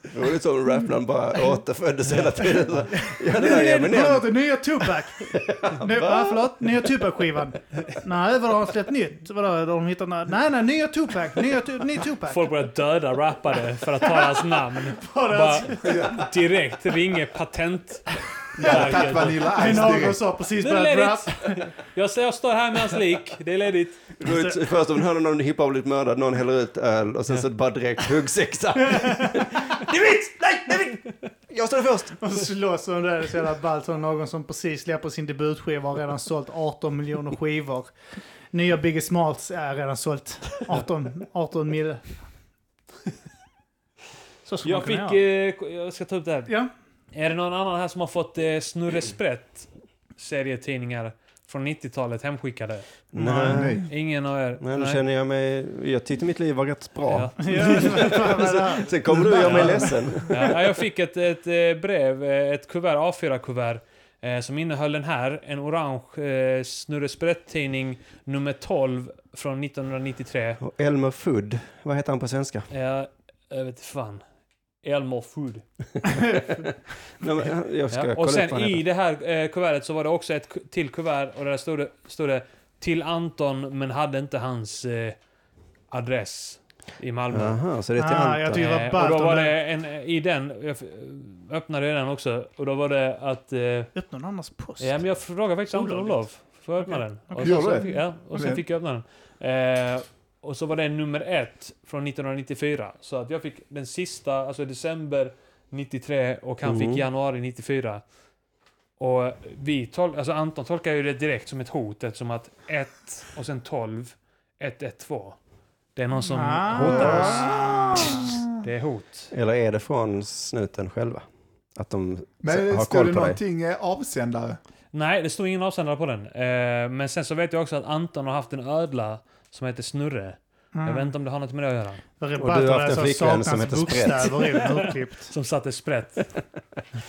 D: Det var lite som rapnamn bara återföddes hela tiden. Så, ja, det där är Eminem.
C: Förlåt, den nya Tupac! Ny, va, förlåt, nya Tupac-skivan. Nej, vadå, har de släppt nytt? Vadå, har de hittat några? Nej, nej, nya Tupac, nya, tu, ny Tupac.
B: Folk började döda rappare för att ta hans namn. Bara direkt ringer patent.
A: Jag hade tagit Vanilla
C: Men
A: Ice
C: någon
A: direkt.
C: sa precis
B: Nu är
C: börjat
B: det
C: rap.
B: ledigt. Jag, ser- jag står här med hans lik. Det är ledigt.
D: Det var ju Först om man hörde någon hiphop blivit mördad, någon häller ut öl och sen så bara direkt huggsexa. det är mitt! Nej, det är mitt! Jag står först!
C: Och så slåss de där, det är så jävla ballt. Som någon som precis släpper sin debutskiva och redan sålt 18 miljoner skivor. Nya Biggie Smalls är redan sålt 18, 18 mil. Så ska man
B: Jag
C: kunna
B: fick...
C: göra.
B: Eh, jag ska ta upp det här.
C: Ja.
B: Är det någon annan här som har fått eh, Snurre Sprätt serietidningar från 90-talet hemskickade?
D: Nej.
B: Ingen av er?
D: Men då känner jag mig... Jag tyckte mitt liv var rätt bra.
B: Ja.
C: Ja, fan, vad är det här?
D: Sen kommer du och gör mig ledsen.
B: Ja, jag fick ett, ett eh, brev, eh, ett kuvert, A4-kuvert, eh, som innehöll den här. En orange eh, Snurre Sprätt-tidning nummer 12 från 1993.
D: Och Elmer Fudd, vad heter han på svenska?
B: Ja, jag vet fan. Elmore Food.
D: Nej, men jag ska
B: Ja.
D: kolla
B: Och
D: upp vad
B: sen
D: han
B: i
D: heter.
B: det här eh, kuvertet så var det också ett ku- till kuvert och där stod det, stod det till Anton men hade inte hans eh, adress i Malmö.
D: Jaha, så det är till
C: Ah, jag
D: Anton.
C: tycker det var
B: Eh, och
C: ballt
B: då
C: om
B: var
C: den-
B: det en, i den, jag f- öppnade den också, och då var det att... Eh, ja,
C: Öppna någon annans post.
B: men jag frågade faktiskt Anton om
C: Olagligt.
B: lov. Får jag öppna
C: Okej.
B: den?
C: Okej.
B: Och
A: Gör
B: sen, så
A: det.
B: fick, ja, och sen
A: Okej.
B: fick jag öppna den. Eh, och så var det nummer ett från 1994. Så att jag fick den sista, alltså december 93 och han
D: Mm.
B: fick januari 94. Och vi tol- alltså Anton tolkar ju det direkt som ett hot eftersom att 1 och sen 12, 112. Det är någon som hotar oss.
C: Ah.
B: Det är hot.
D: Eller är det från snuten själva? Att de
A: Men
D: har
A: står
D: koll
A: det
D: på dig.
A: någonting eh, avsändare?
B: Nej, det stod ingen avsändare på den. Eh, men sen så vet jag också att Anton har haft en ödla som heter Snurre. Jag vet inte om det har något med det att göra.
C: Och
D: Och du har haft en flickvän som heter Sprätt.
B: Som satte sprätt.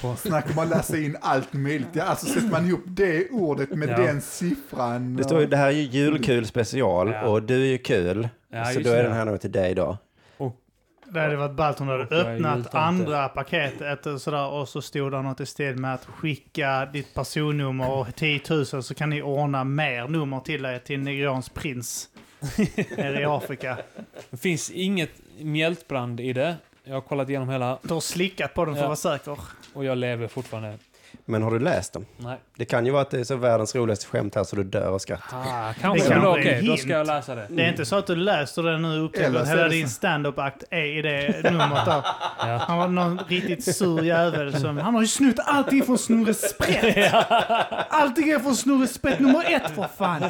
B: på.
A: Snackar man läsa in allt möjligt. Ja, alltså sätter man ihop det ordet med
B: Ja.
A: den siffran.
D: Det står ju, det här är ju julkul special
B: Ja.
D: och du är ju kul.
B: Ja,
D: så
B: just
D: då är
B: det.
D: den här nog till dig idag.
C: Det hade varit ballt om du hade
B: Och jag är
C: öppnat
B: jultomte.
C: andra paketet och, sådär, och så stod det något i stil med att skicka ditt personnummer och 10 000 så kan ni ordna mer nummer till dig till Nigerians prins nere i Afrika.
B: Det finns inget mjältbrand i det. Jag har kollat igenom hela
C: Du har slickat på den för
B: Ja.
C: att vara säker.
B: och jag lever fortfarande.
D: Men har du läst dem?
B: Nej.
D: Det kan ju vara att det är så världens roligaste skämt här så du dör av skratt.
B: Ah, kanske.
C: Det
B: Men
C: kan
B: då,
C: bli en
B: okej, då
C: hint.
B: ska jag läsa det.
C: Det är inte så att du läser den nu och upptäcker
A: Eller
C: att
A: så är
C: hela
A: det
C: din
A: så-
C: stand-up-akt är i det numret där.
B: Ja.
C: Han var någon riktigt sur jävel som... Han har ju snott allting från Snorre Sprätt! Allting är från Snorre Sprätt nummer ett för fan!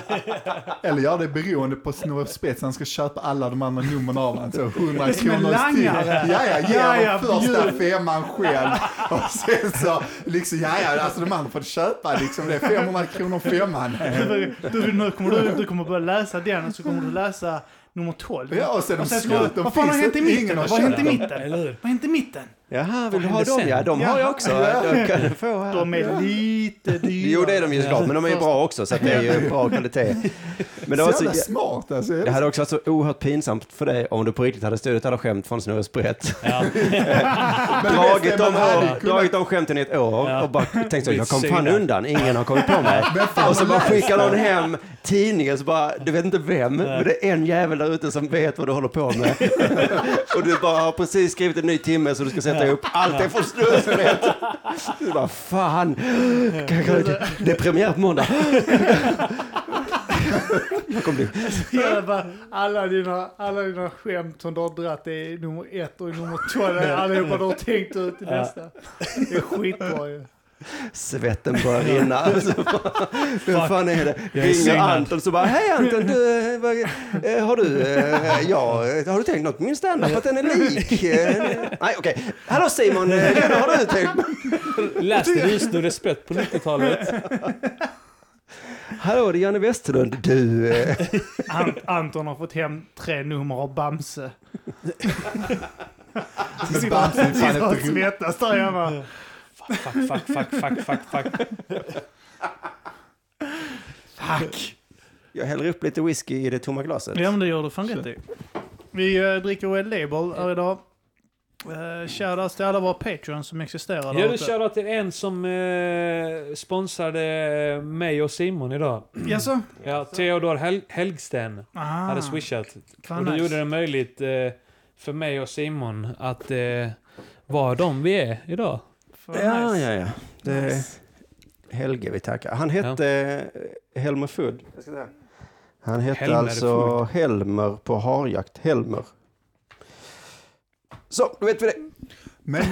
A: Eller ja, det är beroende på Snorre Spets. Han ska köpa alla de andra numren av honom. Så 100
C: Som en
A: kronor till.
C: langare.
A: Ja, ja, ge
C: Ja, ja,
A: honom första
C: bjud.
A: femman själv. Och sen så, liksom, ja, ja, alltså de andra får köpa liksom. Det är 500 kronor femman.
C: Du, du, nu kommer du, du kommer börja läsa den och så kommer du läsa nummer 12.
A: Ja, och sen de
C: sen kommer
A: slut,
C: du,
A: de
C: vad fan har
A: finns
C: hänt i
A: inte.
C: mitten?
A: Ingen har
C: Vad har hänt i
A: köpt dem.
C: mitten?
B: Eller hur?
C: Vad har hänt i mitten?
D: Jaha, vill du
B: Vad
D: ha
B: hände
D: dem?
B: sen?
D: Ja, de har jag också. De kan du få här.
C: De är lite dyra.
D: Jo, det är de ju såklart, men de är ju bra också så att det är ju bra kvalitet. Men det, var
A: så jävla
D: så,
A: smart alltså.
D: det hade också varit så oerhört pinsamt för dig om du på riktigt hade stulit alla skämt från Snurre Sprätt.
A: Men det
D: Dragit
A: bästa är
D: de,
A: man hade
D: år,
A: kunnat-
D: dragit de skämten i ett år och bara tänkt så, jag kom fan
B: Syna.
D: undan, ingen har kommit på mig.
A: Men fan,
D: Och så
A: vad
D: bara
A: läst
D: skickar
A: det.
D: någon hem tidningen så bara, du vet inte vem, men det är en jävel där ute som vet vad du håller på med. Och du bara har precis skrivit en ny timme så du ska sätta upp allt det från snurrspelet. Du bara, fan, kan jag, kan jag, det är premiär på måndag. Jag kommer bli
C: Bara, alla, dina, alla dina skämt som du har dratt är nummer ett och nummer 12. Allihopa du har tänkt ut i nästa. Det är skitbra ju.
D: Svetten börjar rinna. Alltså, Vem fan är det?
B: Jag är
D: Ringer
B: signad.
D: Anton så bara, hej Anton, du, eh, vad, eh, har, du, eh, ja, eh, har du tänkt något på min standup? Att den är lik? Eh, Nej, okej. Hallå Simon, eh, den har du tänkt på?
B: Läste du Snurre sprätt på 90-talet?
D: Hallå, det är Janne Westerlund. Du, eh,
C: Ant, Anton har fått hem tre nummer av Bamse.
A: Men Bamse är fan
C: Sitter och
A: ett roligt.
C: svettas där hemma.
B: Fuck, fuck, fuck, fuck, fuck, fuck, fuck.
C: Fuck!
D: jag häller upp lite whisky i det tomma glaset.
C: Ja men det gör du fan rätt i. Vi eh, dricker Red Label här idag. Uh, Shoutouts till alla våra Patreons som existerar där
B: Jag vill
C: ute.
B: köra till en som eh, sponsrade mig och Simon idag.
C: Jaså?
B: Ja, Theodor Hel- Helgsten hade swishat.
C: Ah, Fan
B: och det
C: nice.
B: gjorde det möjligt eh, för mig och Simon att eh, vara de vi är idag.
C: Fan,
D: Ja,
C: nice.
D: ja, ja. Det är
C: Nice.
D: Helge vi tackar. Han hette eh, Helmer Food. Han hette
B: Helmer
D: alltså Helmer på harjakt. Helmer. Så, då vet vi det.
A: Men eh,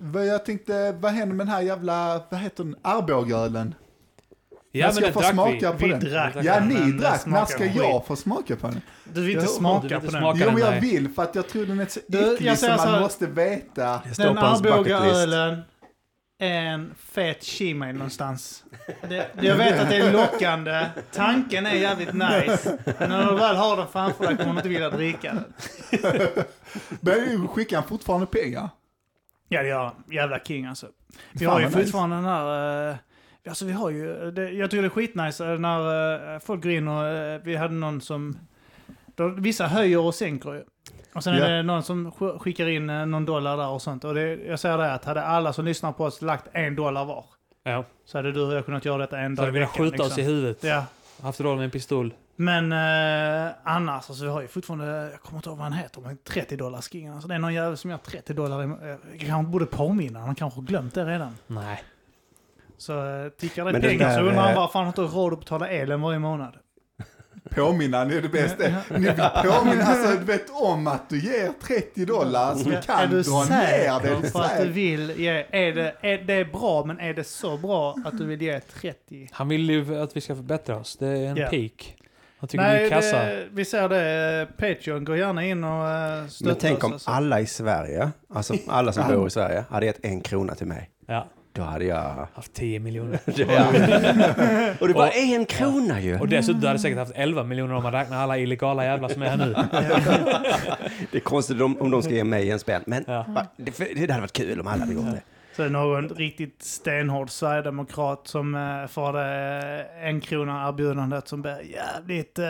A: vad jag tänkte, vad händer med den här jävla, vad heter den, Arbogaölen?
B: Ja,
A: När ska jag få smaka på
C: Vi
A: den?
C: drack
A: Ja,
C: den,
A: ni
C: men den
A: drack. När
C: smakar
A: ska
C: skit.
A: jag få smaka på den?
C: Du vill inte
A: Jag-
B: du
C: smaka
B: vill
C: på
B: inte
C: den.
B: smaka.
A: Jo, men jag
B: nej.
A: vill för att jag tror den är så
C: Du, jag
A: äcklig så
C: säger
A: man
C: så här-
A: måste veta.
D: Det står
C: Den
D: på hans bucket list.
C: Arbogaölen är en fet shemale någonstans. Det, det- jag vet att det är lockande. Tanken är jävligt nice. Men när du väl har den framför dig kommer du inte vilja dricka den.
A: Men skickar han fortfarande pengar?
C: Ja, det gör han. Jävla king alltså. Vi
A: Fan,
C: har ju
A: vad nice.
C: fortfarande den här... eh, alltså vi har ju... Det, jag tycker det är skitnice eh, när eh, folk går in och eh, vi hade någon som... Då, vissa höjer och sänker ju. Och sen
A: Ja.
C: är det någon som sk- skickar in eh, någon dollar där och sånt. Och det, jag säger det att hade alla som lyssnar på oss lagt en dollar var
B: Ja.
C: så hade du och jag kunnat göra detta en
B: Så
C: dag liksom.
B: hade vi velat skjuta oss i huvudet.
C: Ja.
B: Haft råd med en pistol.
C: Men eh, annars, alltså, vi har ju fortfarande, jag kommer inte ihåg vad han heter, men 30 dollars king. Alltså, det är någon jävel som gör 30 dollar. i- eh, Jag kanske borde påminna, han kanske har glömt det redan.
B: Nej.
C: Så eh, tickar det
D: Men det
C: pengar så
D: där,
C: undrar han
D: eh,
C: varför han inte har råd att betala elen varje månad.
A: Påminna, det är det bästa. Ni vill påminna, alltså du vet om att du ger 30 dollar så du
C: är
A: kan
C: du
A: dra ner det. Är
C: säker
A: du
C: på att du
A: säker?
C: vill ge, är det, är det är bra, men är det så bra att du vill ge 30?
B: Han vill ju att vi ska förbättra oss. Det är en
C: Ja.
B: peak. Jag tycker Nej, det är kassa.
C: det, vi ser det. Eh, Patreon, gå gärna in och eh, stötta
D: Men tänk om
C: oss. Alltså.
D: alla i Sverige, alltså alla som bor i Sverige, hade gett en krona till mig.
B: Ja,
D: Då hade jag...
B: haft 10 miljoner.
D: och det var
B: Och-
D: en krona ju!
B: Och dessutom du hade säkert haft 11 miljoner om man räknar alla illegala jävlar som är här nu.
D: Det är konstigt om, om de ska ge mig en spänn, men
B: Ja.
D: va, det, det hade varit kul om alla hade gjort det.
C: Så är det någon riktigt stenhård sverigedemokrat som eh, får det eh, en krona erbjudandet som blir jävligt eh,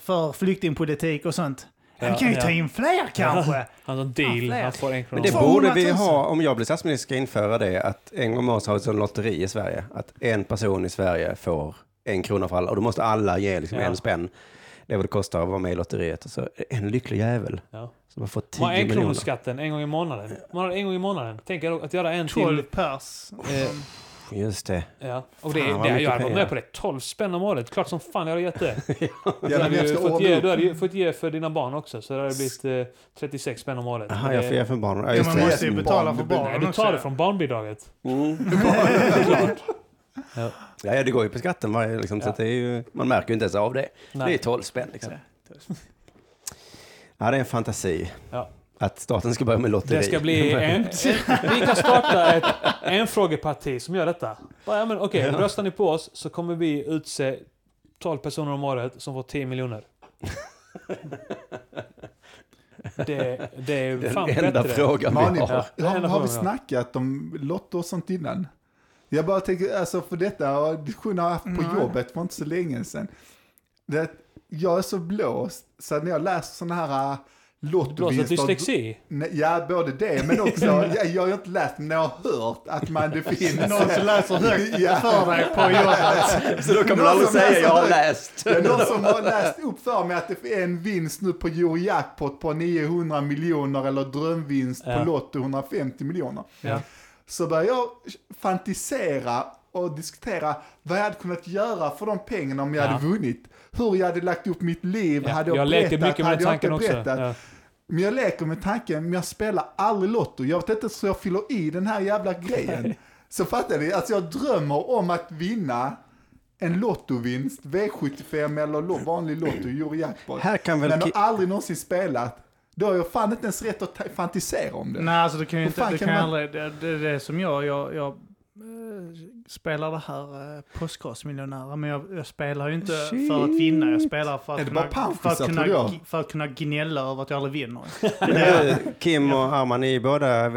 C: för flyktingpolitik och sånt.
B: Ja,
C: Han kan ju
B: ja.
C: ta in fler kanske.
B: Han har en deal,
C: fler.
B: han får en krona.
D: Men det
C: 200 000.
D: borde vi ha, om jag blir statsminister, ska införa det, att en gång om året så har vi ett sånt lotteri i Sverige, att en person i Sverige får en krona för alla, och då måste alla ge liksom
B: Ja.
D: en spänn. Det är vad det kostar att vara med i lotteriet. Och så en lycklig jävel
B: Ja.
D: som har fått 10
B: Vad är en
D: miljoner.
B: kronskatten en gång i månaden? Månad, en gång i månaden. Tänk er att göra en
C: 12
B: till.
C: pers.
B: Eh,
D: Just det.
B: ja. Och det,
D: Fan, vad
B: det, jag hade
D: mycket
B: varit
D: pengar.
B: med på det. 12 spänn om året. Klart som fan jag hade gett det. Du
A: Jävlar,
B: hade
A: jag
B: ju
A: ska
B: fått
A: ordna
B: ge,
A: upp.
B: du hade ju fått ge för dina barn också, så det hade blivit eh, 36 spänn om året.
D: Jaha,
B: Men
D: jag
B: det-
D: får ge för barnen. Ja,
C: Ja,
D: just
C: man
D: det.
C: måste ju
D: Mm.
C: betala för
B: Nej,
C: barnen
B: du
C: också,
B: tar det
C: ja.
B: från barnbidraget.
D: Mm.
B: Såklart.
D: Ja, ja, det går ju på skatten varje, liksom, så
B: Ja.
D: att det är ju, man märker ju inte ens av det. Det är 12 spänn liksom. Ja, det är en fantasi.
B: Ja.
D: Att staten ska börja med lotteri.
B: Det ska bli en... Vi kan starta ett enfrågeparti som gör detta. Bara, Ja, men Okej,
D: Ja.
B: röstar ni på oss så kommer vi utse 12 personer om året som får 10 miljoner. Det, det är
D: Den
B: fan
D: enda
B: bättre.
D: frågan
A: Men har,
D: vi
A: ni,
D: har.
B: Ja, det är
A: har,
B: enda
A: har vi
B: frågan, ja.
A: snackat om lotto och sånt innan? Jag bara tänker, alltså för detta har jag diskussioner haft på
C: Nej.
A: jobbet för inte så länge sedan. Det, är att jag är så blåst, så att när jag läser sådana här äh,
B: Blåsa
A: lottovinster
B: dyslexi.
A: Nej, Ja, både det, men också, jag, jag har inte läst, men jag har hört att man, det finns...
C: Någon som läser högt
A: Ja.
C: för dig på jobbet.
D: Så då kan man
A: Någon
D: aldrig
A: som
D: säga
A: läser
D: jag har
A: högt.
D: läst.
A: Det är någon som har läst upp för mig att det är en vinst nu på Eurojackpot på 900 miljoner eller drömvinst
B: Ja.
A: på Lotto 150 miljoner.
B: Ja.
A: Så börjar jag fantisera och diskutera vad jag hade kunnat göra för de pengarna om jag
B: Ja.
A: hade vunnit. Hur jag hade lagt upp mitt liv,
B: Ja,
A: hade jag,
B: jag leker
A: berättat,
B: mycket med
A: hade
B: den
A: jag inte
B: tanken också.
A: berättat.
B: Ja.
A: Men jag leker med tanken, men jag spelar aldrig Lotto. Jag vet inte ens hur jag fyller i den här jävla grejen. Så fattar ni? Alltså jag drömmer om att vinna en lottovinst, V75 eller lo- vanlig Lotto, Eurojackpot.
D: Här kan väl
A: Men har
D: ki-
A: aldrig någonsin spelat. Då har jag fan inte ens rätt att ta- fantisera om det.
C: Nej, alltså du kan ju
A: Hur
C: inte,
A: fan
C: du
A: kan
C: kan
A: man-
C: aldrig, det, det är det som jag, jag, jag eh, spelar det här eh, Postkodmiljonärer, men jag, jag spelar ju inte
D: Shit.
C: för att vinna, jag spelar för
A: Är
C: att,
A: det
C: kunna,
A: bara pamfisar,
C: för att, kunna,
A: tror jag?
C: g- för att kunna gnälla över att jag aldrig vinner.
D: Nu, Kim och Arman, ni är båda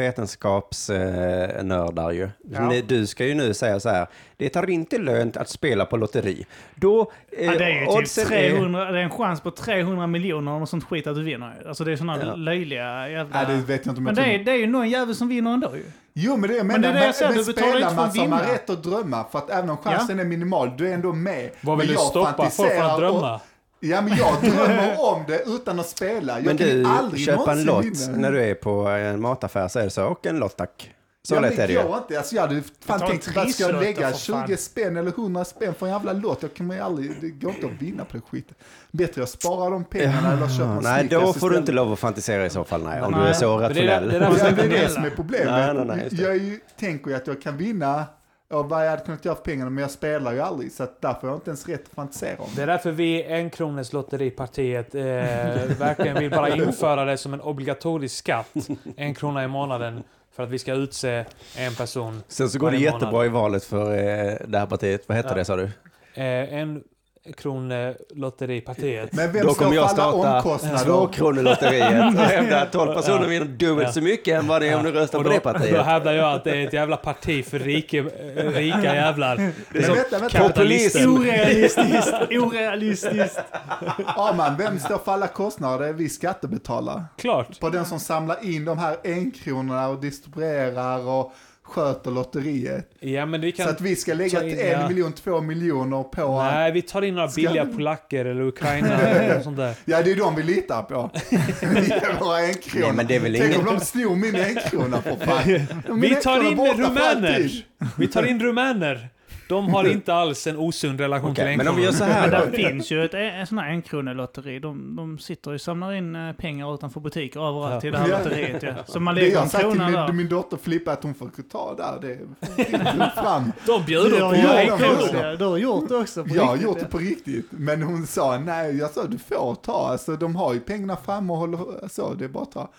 D: vetenskapsnördar ju. Ni- Du ska ju nu säga så här, det är inte lönt att spela på lotteri. Då, eh,
C: Ja, det är ju
D: oddsen
C: typ 300, det är en chans på 300 miljoner och sånt skit att du vinner. Alltså det är sådana
D: Ja.
C: löjliga jävla...
A: Nej, det vet jag inte om jag
C: men det
A: tror.
C: är, det är ju någon jävel som vinner ändå ju.
A: Jo, men det är,
C: Men det är det jag säger, du betalar
A: spelar
C: inte för
A: man
C: att
A: som har
C: vinna.
A: rätt att drömma, för att även om chansen är minimal, du är ändå med.
B: Vad vill
A: Men
B: du
A: jag
B: stoppa folk från
A: fantiserar
B: att
A: och-
B: drömma?
A: Ja, men jag drömmer om det utan att spela. Jag
D: men
A: kan ju
D: du,
A: aldrig
D: köpa en
A: någonsin
D: lott
A: vinna.
D: när du är på eh, en mataffär så är det så, och en lott tack. Så
A: ja,
D: lätt
A: men
D: är det ju.
A: går inte. Alltså, jag hade fan
C: tar en
A: tänkt, vad ska jag
C: trisslott
A: lägga?
C: då, för
A: 20
C: fan.
A: spänn eller 100 spänn för en jävla låt? Jag kommer ju aldrig, det går inte att vinna på det skiten. Bättre jag sparar de pengarna eller köper en
D: Nej,
A: Snickers
D: då får du
A: istället.
D: inte lov att fantisera i så fall, nej. Om
C: Nej.
D: du är så
B: Men det är- det är
D: rationell.
B: därför-
A: Ja, det är det
C: Snälla.
A: som är problemet.
D: Nej, nej, nej, just det.
A: jag är ju, tänker ju att jag kan vinna och vad jag hade kunnat göra för pengarna, men jag spelar ju aldrig. Så att därför har jag inte ens rätt att fantisera om
B: Det
A: det.
B: är därför vi i enkroneslotteripartiet eh, verkligen vill bara införa det som en obligatorisk skatt. En krona i månaden. För att vi ska utse en person.
D: Sen så går det
B: varje
D: jättebra
B: månad.
D: i valet för eh, det här partiet. Vad heter
B: Ja.
D: det sa du?
B: Eh, en kronlotteripartiet.
A: Men vem
D: Då
A: står
D: kommer jag
A: för alla
D: starta
A: omkostnader?
D: tvåkronolotteriet och hävda att 12 personer vinner dubbelt
B: Ja.
D: så mycket än vad det är om du röstar
B: Och
D: på
B: då,
D: det
B: då
D: partiet.
B: hävdar jag att det är ett jävla parti för rike, eh, rika jävlar. Det är
A: Men
B: som
A: vänta, vänta.
B: kapitalister.
C: Orealistiskt, orealistiskt.
A: Arman, vem står för alla kostnader? Det är vi skattebetalare.
B: Klart.
A: På den som samlar in de här enkronorna och distribuerar och sköter lotteriet.
B: Ja, men vi kan...
A: så att vi ska lägga
B: ta in,
A: till en
B: ja.
A: miljon, två miljoner på...
B: Nej, vi tar in några
A: Ska-
B: billiga polacker eller ukrainare eller något sånt där.
A: Ja, det är de vi litar på. Ge Våra enkronor.
D: Nej, men det är väl
A: Tänk
D: ingen-
A: om de snor min enkrona för fan. Min
B: Vi
A: enkrona
B: tar
A: är
B: in
A: borta för
B: rumäner!
A: alltid.
B: Vi tar in rumäner! De har inte alls en osund relation
D: Okej,
B: till
D: men om vi gör så
B: enkronor.
D: här
C: Men
D: då.
C: där finns ju ett en sån här enkronelotteri. De, de sitter och samlar in eh, pengar utanför butiker överallt i det här
A: Ja.
C: lotteriet ja. Så man
A: Det
C: lägger
A: jag
C: en
A: har sagt till
C: krona
A: min,
C: där.
A: min dotter Flippa att hon får ta där, det är fram.
B: De bjuder
C: Ja,
B: på
A: ja, ja.
C: ja, just
B: enkronor.
C: det. Du har gjort det också. på
A: Jag har
C: riktigt,
A: gjort
C: ja.
A: det på riktigt. Men hon sa nej, jag sa du får ta, alltså de har ju pengarna fram och håller så, det är bara att ta.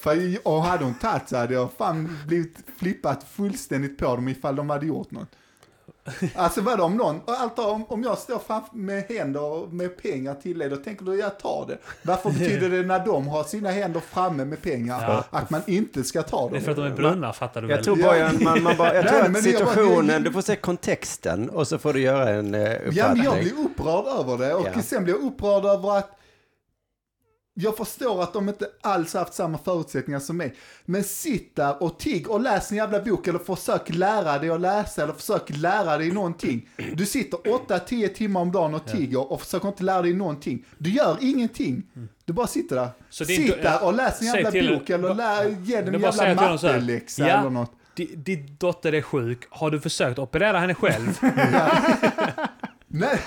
A: För, och hade hon tagit så hade jag fan blivit flippat fullständigt på dem ifall de hade gjort något. Alltså vadå om någon, och allt om, om jag står framför med händer och med pengar till er, då tänker du jag tar det. Varför betyder det när de har sina händer framme med pengar
B: Ja.
A: att man inte ska ta dem?
B: Det är för att de är brunnar, fattar du väl?
D: Jag tror bara jag- man, man bara, jag
A: Nej,
D: tror
A: men
D: att
A: det- jag bara-
D: situationen, du får se kontexten och så får du göra en eh,
A: Ja, men jag
D: uppfattning.
A: blir upprörd över det och
D: Ja.
A: sen blir jag upprörd över att jag förstår att de inte alls haft samma förutsättningar som mig. Men sitt där och tigg och läs en jävla bok eller försök lära dig att läsa eller försök lära dig någonting. Du sitter 8-10 timmar om dagen och tigger och försöker inte lära dig någonting. Du gör ingenting. Du bara sitter där.
B: Så det är
A: Sitt
B: inte-
A: där och läs en
B: Säg
A: jävla
B: till-
A: bok eller lär, ge dem
B: Du
A: en
B: bara säger
A: jävla
B: till honom så här,
A: matteläxa
B: ja.
A: eller något.
B: Di- Din dotter är sjuk. Har du försökt operera henne själv?
A: Nej,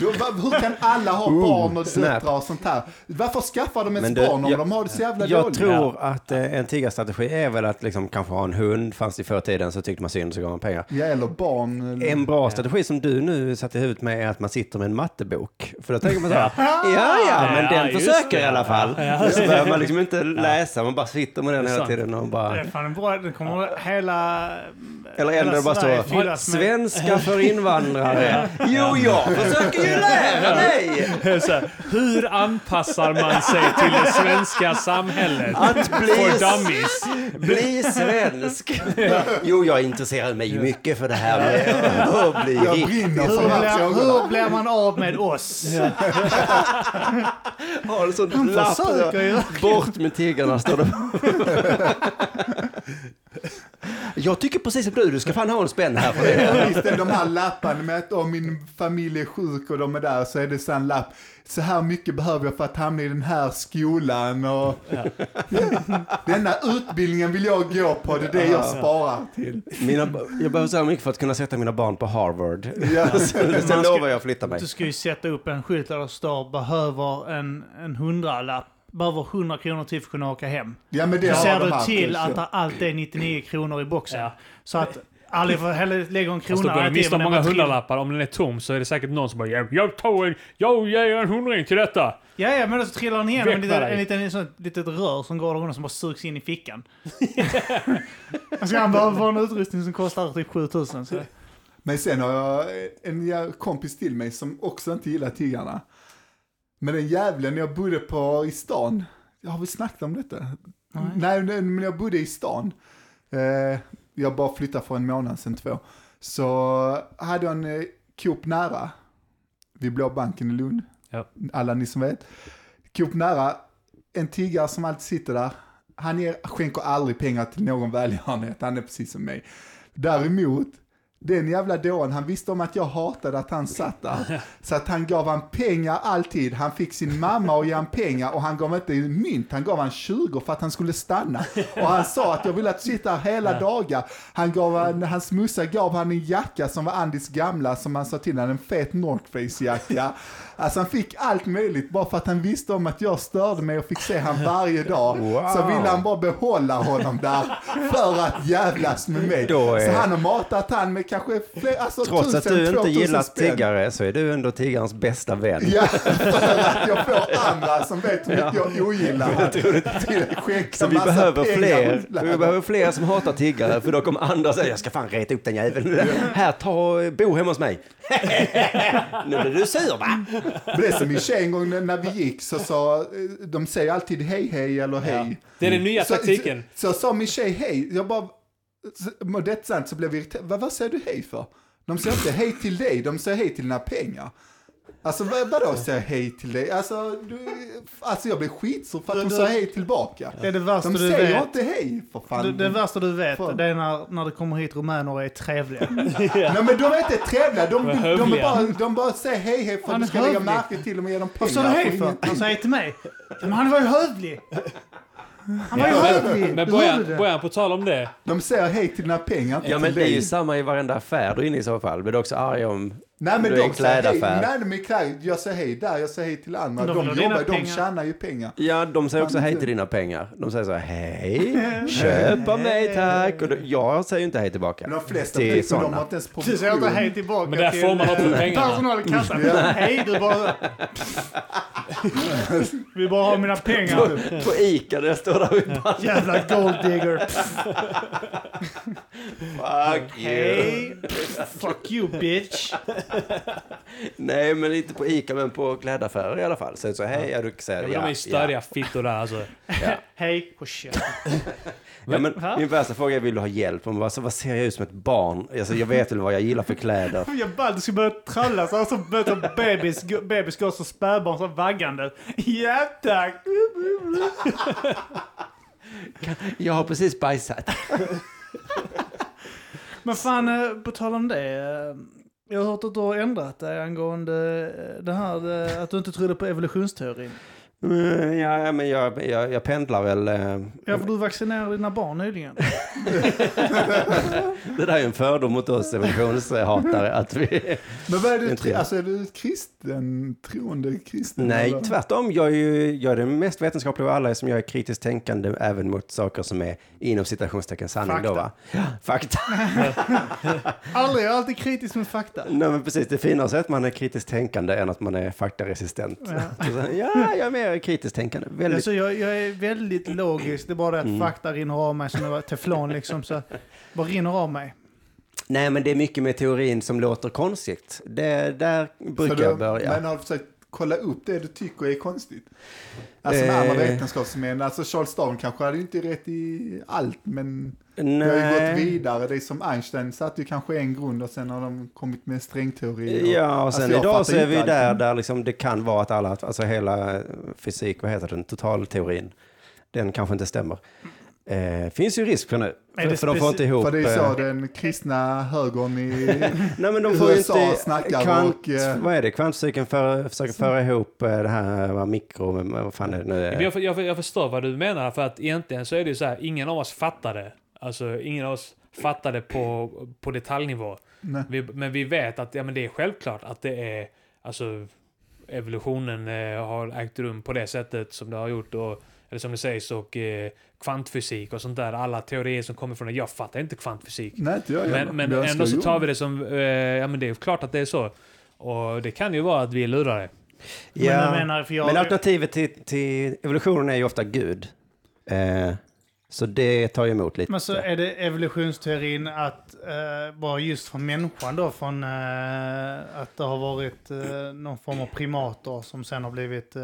A: då, va- hur kan alla ha barn och
D: Oh, snap.
A: döttrar och sånt här? Varför skaffar de ens
D: Men du,
A: barn om
D: jag-
A: de har det så jävla
D: Jag
A: dåligt?
D: tror att eh, en tiggarstrategi är väl att liksom kanske ha en hund, fanns det förr i tiden så tyckte man synd så gav man pengar.
A: Ja, eller barn.
C: Mm.
A: eller-
D: En bra strategi som du nu satte i huvudet med är att man sitter med en mattebok. För då tänker man så här, ja ja, men
B: Ja,
D: den
B: just
D: försöker
B: det.
D: i alla fall. Så behöver man liksom inte läsa, man bara sitter med den hela
B: sant.
D: tiden och
C: Det är
D: bara...
C: fan en bra, det kommer hela...
D: Eller
C: hela
D: ändå bara
C: Sverige
D: så,
C: fyllas med-
D: svenska för invandrare. Jo, jag försöker ju lära dig
B: så här, hur anpassar man sig till det svenska samhället?
D: att
B: For
D: bli
B: dummies.
D: Bli svensk! Jo, jag intresserar mig mycket för det här med att bli
A: Jag
D: rik.
A: brinner
C: Hur
A: för de här
C: blir, hur
A: frågorna.
C: blir man av med oss?
D: Har en sån lapp
C: försöker
D: där. Bort med tiggarna, står det. Jag tycker precis som du, du ska fan ha en spänn här för det.
A: Visst är de här lapparna med att om min familj är sjuk och de är där så är det så en lapp. Så här mycket behöver jag för att hamna i den här skolan och denna utbildningen vill jag gå på, det är det jag sparar till.
D: Mina, jag behöver så här mycket för att kunna sätta mina barn på Harvard.
A: Ja.
D: Sen, sen lovar jag att flytta mig.
C: Du ska ju sätta upp en skylt där det står behöver en, en hundralapp. Behöver 100 kronor till för att kunna åka hem.
A: Ja, men det
C: Då
A: har
C: ser
A: de
C: du
A: haft,
C: till
A: så.
C: att det alltid är 99 kronor i boxen.
B: Ja.
C: Så att aldrig får heller lägga en
B: Fast då
C: krona.
B: går du
C: alltid,
B: miste om
C: men
B: Alltså, många
C: man-
B: hundralappar. Om den är tom så är det säkert någon som bara "Jag- jag tar en, jag ger en hundring till detta.
C: Ja, ja, men då så trillar den igenom
B: Väck
C: en
B: med
C: liten,
B: dig.
C: en liten, en sån, litet rör som går runt som bara sugs in i fickan. Och så han behöver få en utrustning som kostar typ 7000. Så.
A: Men sen har jag en jä- kompis till mig som också inte gillar tiggarna. Men den jävlen jag bodde på i stan, jag har väl snackat om detta? Nej, nej, men jag bodde i stan. Eh, jag bara flyttade för en månad sedan, två. Så hade jag en eh, Coop nära, vid Blå banken i Lund.
B: Ja.
A: Alla ni som vet. Coop nära, en tiggare som alltid sitter där. Han ger, skänker aldrig pengar till någon välgörenhet, han är precis som mig. Däremot, den jävla dåren, han visste om att jag hatade att han satt där. Så att han gav han pengar alltid. Han fick sin mamma och ge han pengar och han gav inte mynt, han gav han 20 för att han skulle stanna. Och han sa att jag vill att du sitter här hela dagar. Han gav han, hans mussa gav han en jacka som var Andys gamla som han sa till honom, en fet North Face jacka. Alltså han fick allt möjligt bara för att han visste om att jag störde mig och fick se han varje dag. Så ville han bara behålla honom där för att jävlas med mig.
D: Då är-
A: Så han har matat han med kanske fler, alltså
D: Trots att
A: 1000,
D: du inte
A: 2000
D: gillar
A: spänn.
D: tiggare så är du ändå tiggarens bästa vän.
A: Ja, för att jag får andra som vet hur mycket jag ogillar. Till- skänka
D: Så vi
A: massa
D: behöver
A: pengar
D: fler,
A: till
D: vi behöver fler som hatar tiggare för då kommer andra säga jag ska fan reta upp den jäveln. Här, ta, bo hemma hos mig. nu blir du sur va?
A: Men det är som min tjej en gång när när vi gick så sa, eh, de säger alltid hej hej eller hej.
B: Det är den
D: Mm.
B: nya
A: Så,
B: taktiken.
A: så, så sa min tjej hej, jag bara, så- med det sant så blev jag irriterad. Vad, vad säger du hej för? De säger inte hej till dig, de säger hej till dina pengar. Alltså vad, vadå säger hej till dig? Alltså, du, alltså jag blev skitsur för att de sa hej tillbaka.
C: Det är det värsta
A: De
C: du
A: säger
C: vet.
A: inte hej för fan.
C: Det, det värsta du vet,
A: Fan.
C: det är när, när det kommer hit rumäner och är trevliga.
A: Nej men de är inte trevliga, de, de, de, är
B: hövliga.
A: bara, de bara säger hej hej för
C: Han
A: att
C: är
A: du ska lägga
C: hövlig.
A: märke till dem och ge dem pengar.
C: Vad sa du hej för?
A: Ingen-
C: Han sa hej till mig. Men han var ju hövlig.
A: Han var ju hövlig.
B: Men
A: Hörde du
B: början,
A: det?
B: början på tal om det.
A: De säger hej till dina pengar, inte
D: Ja, men
A: till
D: det är ju
A: dig.
D: samma i varenda affär du är inne i så fall. Blir du också arg om...
A: Nej men
D: Du är
A: de
D: en
A: säger hej,
D: klädaffär.
A: nej men kläd, jag säger hej där, jag säger hej till andra.
C: De
A: De,
C: vill ha
A: jobbar,
C: dina
A: de
C: pengar.
A: tjänar ju pengar.
D: Ja, de säger också
A: Fan,
D: hej
A: inte.
D: till dina pengar. De säger så här, hej, köp av mig tack. Och då, jag säger ju inte hej tillbaka.
A: Men de flesta
D: Det är
A: butiker, de
D: såna.
A: har inte ens
C: Du säger
A: provision.
C: inte hej tillbaka
B: Men där
C: till
B: får man ha på
C: eh,
B: pengarna.
C: personal i kassan. Hej, du bara... Vi bara har mina pengar.
D: På Ica, där står där vid bara,
C: Jävla golddigger.
D: fuck you.
C: Hej. Fuck you bitch.
D: Nej, men inte på Ica, men på klädaffärer i alla fall. Sen så hej, ja, du säger
B: Ja,
D: ja.
B: men de är ju störiga fittor där alltså.
D: ja.
C: Hej. Oh, På käften.
D: Ja, men
C: Va?
D: min värsta fråga är, vill du ha hjälp? Man bara, så vad ser jag ut som ett barn? Alltså, jag vet väl vad jag gillar för kläder.
C: Jag bad du ska börja tralla så här som bebis, bebis, gå- bebis går som spädbarn så här vaggande. Ja tack.
D: Jag har precis bajsat.
C: Men fan, eh, på tal om det. eh, Jag har hört att du har ändrat dig angående eh, det här eh, att du inte trodde på evolutionsteorin.
D: Mm, ja, men jag, jag, jag pendlar väl. eh.
C: Ja, för du vaccinerade dina barn nyligen.
D: Det där är ju en fördom mot oss evolutionshatare. Att vi...
A: Men vad är du,
D: Inte
A: tri-
D: jag.
A: alltså är du kristen, troende kristen?
D: Nej,
A: eller?
D: tvärtom. Jag är, ju, jag är den mest vetenskapliga av alla som jag är kritiskt tänkande även mot saker som är inom citationstecken sanning. Fakta. Då, va? Ja, fakta.
C: Aldrig, jag är alltid kritisk med fakta.
D: Nej, men precis. Det är finare så att man är kritiskt tänkande än att man är faktaresistent.
C: Ja.
D: Så, ja, jag är mer kritiskt tänkande. Väldigt Mm.
C: Alltså, jag, jag är väldigt logisk, det är bara det att fakta rinner av mig som det var teflon liksom. Så bara rinner av mig.
D: Nej, men det är mycket med teorin som låter konstigt. Det, där
A: Så
D: brukar
A: du,
D: jag börja.
A: Men har du försökt kolla upp det du tycker är konstigt? Alltså med
D: Eh.
A: andra vetenskapsmän, alltså Charles Darwin kanske hade ju inte rätt i allt, men
D: Nej.
A: det har ju gått vidare. Det är som Einstein satte ju kanske en grund och sen har de kommit med en strängteori. och-
D: Ja, och
A: Alltså,
D: sen
A: jag fattar
D: idag så är
A: inte
D: vi
A: allt.
D: där, där liksom det kan vara att alla, alltså hela eh, fysik, vad heter den, totalteorin, den kanske inte stämmer. Eh, finns ju risk för nu,
C: det
D: för, för de får
C: speci-
D: inte ihop...
A: För det är
D: eh,
A: så den kristna högern i...
D: nej men de får ju
A: USA
D: inte...
A: snackar
D: Kvant,
A: och, eh,
D: vad är det, kvantcykeln för, försöker föra ihop eh, det här vad mikro, men vad fan är det
A: Eh.
D: nu?
B: Men jag, för- jag, för- jag förstår vad du menar, för att egentligen så är det ju så här, ingen av oss fattade. Alltså, ingen av oss fattade på, på detaljnivå.
A: Nej.
B: Vi, men vi vet att ja, men det är självklart att det är, alltså, evolutionen eh, har ägt rum på det sättet som det har gjort. Och, eller som det sägs, och eh, kvantfysik och sånt där. Alla teorier som kommer från det. Jag fattar inte kvantfysik.
A: Nej, inte jag heller.
B: Men, men
A: jag
B: ändå
A: önskar
B: så
A: ju-
B: tar vi det som, eh, ja men det är klart att det är så. Och det kan ju vara att vi är lurade.
D: Ja.
C: Men jag menar, för jag...
D: Men alternativet till, till evolutionen är ju ofta Gud. Eh, så det tar ju emot lite.
C: Men så är det evolutionsteorin att, eh, bara just från människan då, från eh, att det har varit eh, någon form av primater som sen har blivit eh,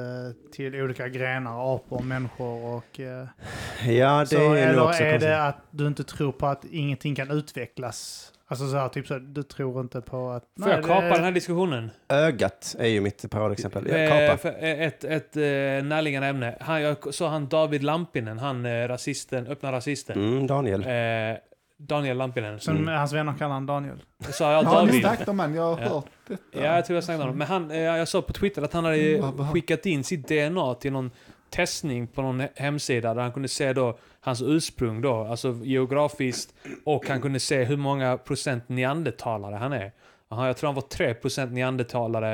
C: till olika grenar, apor, människor och... Eh,
D: ja, det
C: så,
D: är nog
C: eller
D: också
C: är
D: konstigt.
C: det att du inte tror på att ingenting kan utvecklas? Alltså så här, typ så här, du tror inte på att...
B: Får jag kapa den här diskussionen?
D: Ögat är ju mitt paradexempel. Ja,
B: Eh,
D: kapa.
B: för- eh, Ett, ett eh, närliggande ämne. Han, jag såg han David Lampinen, han eh, rasisten, öppna rasisten.
D: Mm, Daniel.
B: Eh, Daniel Lampinen.
C: Som hans vänner kallar han Daniel.
B: Sa jag
A: Ja, ni
B: David?
A: snackade om han, jag har
B: Ja.
A: hört detta.
B: Ja, jag tror jag snackade om honom. Men han, eh, jag såg på Twitter att han hade
A: Mm,
B: ju
A: vad- vad-
B: skickat in sitt DNA till någon testning på någon he- hemsida där han kunde se då hans ursprung då, alltså geografiskt och han kunde se hur många procent neandertalare han är. Aha, jag tror han var 3% neandertalare,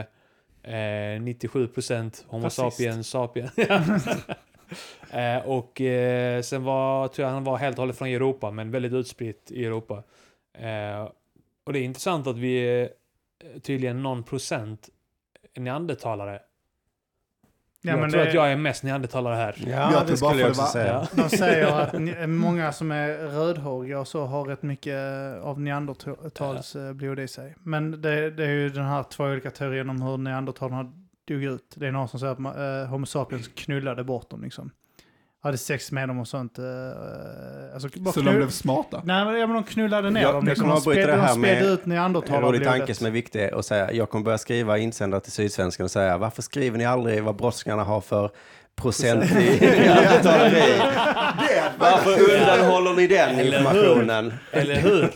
B: eh, 97% homo
C: Rasist.
B: sapiens sapien. eh, och eh, sen var, tror jag han var helt och hållet från Europa, men väldigt utspritt i Europa. Eh, och det är intressant att vi är eh, tydligen någon procent neandertalare.
C: Ja,
B: jag
C: men
B: tror
C: det-
B: att jag är mest neandertalare här.
A: Jag
D: Ja,
A: tror
D: det
A: bara
D: skulle jag
A: för det
D: också
A: var-
D: säga.
B: Ja.
C: De säger att ni- många som är rödhåriga och så har rätt mycket eh, av neandertalsblod i sig. Men det, det är ju den här två olika teorin om hur neandertalarna dog ut. Det är någon som säger att ma- eh, Homo sapiens knullade bort dem liksom. Hade sex med dem och sånt. eh, Alltså, bara
A: Så
C: knull-
A: de blev smarta.
C: Nej, men ja, men de knullade ner
D: Jag-
C: dem.
D: jag
C: liksom.
D: kommer
C: De
D: att bryta
C: spädde-
D: det här
C: de spädde ut
D: med En rolig tanke
C: neandertalarblodet.
D: som är viktig att säga. Jag kommer börja skriva insändare till Sydsvenskan och säga varför skriver ni aldrig vad brottslingarna har för procent i neandertalare? Varför undanhåller ni den
B: Eller hur?
D: informationen?
B: Eller hur?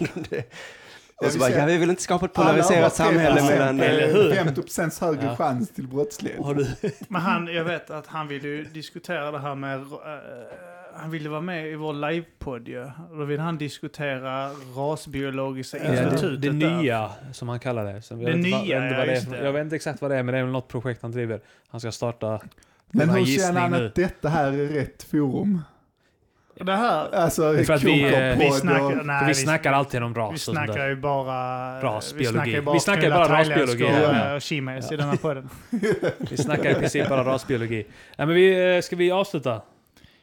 D: Och så bara, ja, vi vill inte skapa ett polariserat samhälle mellan...
B: eller hur?
A: 50 procents högre
B: Ja.
A: chans till brottslighet.
B: Har du...
C: Men han, jag vet att han vill ju diskutera det här med eh, han ville vara med i vår livepodd ju. Och Då ville han diskutera rasbiologiska
B: Ja, det,
C: institutet
B: det
C: där.
B: nya, som han kallar det. Som jag
C: Det
B: vet inte vad-
C: nya,
B: jag vet inte
C: ja,
B: vad det är
C: just
B: för-
C: det.
B: Jag vet inte exakt vad det är, men det är väl något projekt han driver. Han ska starta...
A: Men
B: Det var
A: hur
B: en
A: känner
B: gissning
A: han
B: nu.
A: att detta här är rätt forum?
C: Det här,
A: Alltså,
B: är för att vi, eh,
C: vi
A: kokerpodd
C: snackar,
A: och...
C: nej,
B: för vi
C: vi,
B: snackar alltid om ras
C: vi
B: och sånt där.
C: snackar ju bara...
B: Rasbiologi.
C: Vi snackar ju bara,
B: Vi snackar ju
C: knulla
B: bara
C: thailändska
B: rasbiologi,
C: och,
B: ja.
C: eh, och chimes
B: Ja.
C: i den här podden.
B: Vi snackar i princip bara rasbiologi. Nej, men vi, eh, ska vi avsluta?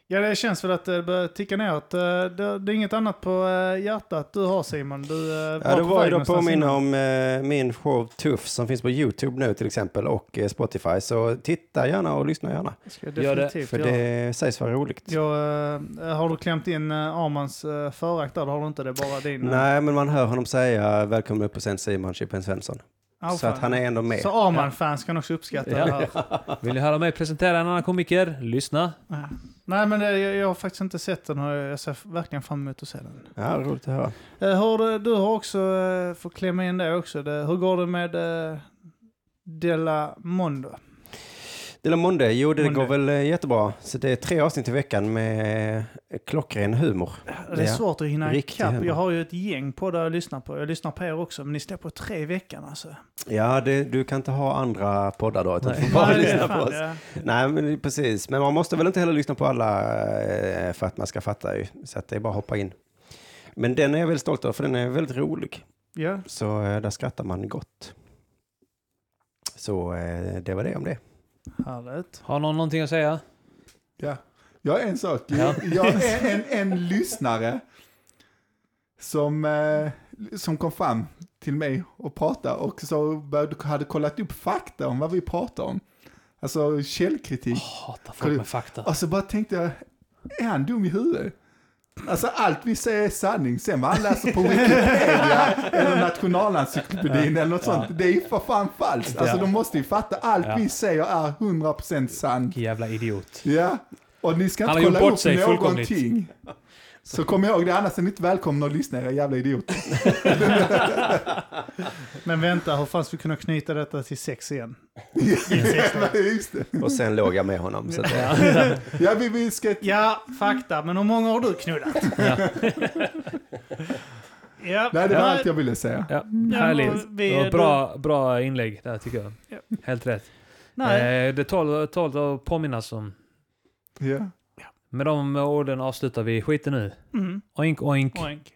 C: Ja, det känns väl att det börjar ticka neråt. Det, det, det är inget annat på eh, hjärtat du har Simon. Du eh,
D: Ja, det
C: på
D: var
C: väg
D: ju då
C: någonstans
D: påminna
C: innan.
D: om eh, min show Tuff som finns på YouTube nu till exempel och eh, Spotify. Så titta gärna och lyssna gärna.
C: Det ska jag
B: Gör det,
C: definitivt
D: För
C: göra.
D: det sägs vara roligt.
C: Jag, eh, har du klämt in eh, Armans eh, förakt där? Det har du inte, det är bara din. eh,
D: Nej, men man hör honom säga välkommen upp på scen Simon Chippen Svensson.
C: outfit.
D: Så att han är ändå med.
C: Så Arman-fans kan också uppskatta
B: Ja.
C: det här.
B: Vill ni höra mig presentera en annan komiker? Lyssna.
C: Ja. Nej, men det, jag, jag har faktiskt inte sett den och jag ser verkligen fram emot att se den.
D: Ja, roligt att höra.
C: Eh, Har du, du har också, eh, får klämma in det också, det, hur går det med eh, Della Mondo?
D: Dela Monde, jo det
C: Monde.
D: går väl eh, jättebra. Så det är tre avsnitt i veckan med eh, klockren humor.
C: Det är
D: Ja.
C: svårt att hinna
D: Riktig
C: ikapp.
D: humor.
C: Jag har ju ett gäng på där jag lyssnar på. Jag lyssnar på er också, men ni släpper tre i veckan alltså.
D: Ja, det, du kan inte ha andra poddar då, utan
B: Nej.
D: du får bara
C: Nej,
D: lyssna på
C: fan,
D: oss.
C: ja.
D: Nej, men precis. Men man måste väl inte heller lyssna på alla eh, för att man ska fatta ju. Så att det är bara att hoppa in. Men den är jag väldigt stolt över, för den är väldigt rolig.
C: Ja.
D: Så eh, där skrattar man gott. Så eh, det var det om det.
C: Härligt.
B: Har någon någonting att säga?
A: Ja. Jag har en sak.
B: Ja.
A: Jag har en, en, en lyssnare som, eh, som kom fram till mig och pratade och så började, hade kollat upp fakta om vad vi pratar om. Alltså källkritik.
B: Hatar
A: Kan
B: folk
A: du-
B: med fakta.
A: Och så bara tänkte jag, är han dum i huvudet? Alltså allt vi säger är sanning, sen vad han läser på Wikipedia eller Nationalencyklopedin eller något sånt, det är ju för fan falskt. Alltså
B: Ja.
A: de måste ju fatta, allt
B: Ja.
A: vi säger är 100% sant.
B: Jävla idiot.
A: Ja, och ni ska
B: Han
A: inte
B: har gjort
A: kolla
B: bort
A: upp
B: sig fullkomligt.
A: någonting. Så kom ihåg det, annars är ni inte välkomna att lyssna era jävla idioter.
C: Men vänta, hur fan ska vi kunna knyta detta till sex igen?
A: Ja, Just det.
D: Och sen låg jag med honom. Så att,
B: Ja.
A: Ja, vi, vi ska...
C: Ja, fakta, men hur många har du knullat? ja.
A: Nej, det var
C: Ja.
A: allt jag ville säga.
B: Ja,
C: Ja,
B: härligt.
C: vi-
B: Det var bra, bra inlägg där tycker jag.
C: Ja.
B: Helt rätt.
C: Nej.
B: Eh, Det tål tål att påminnas om.
A: Ja.
B: Med de orden avslutar vi skiten nu.
C: Mm.
B: Eh, Oink oink.
C: Oink.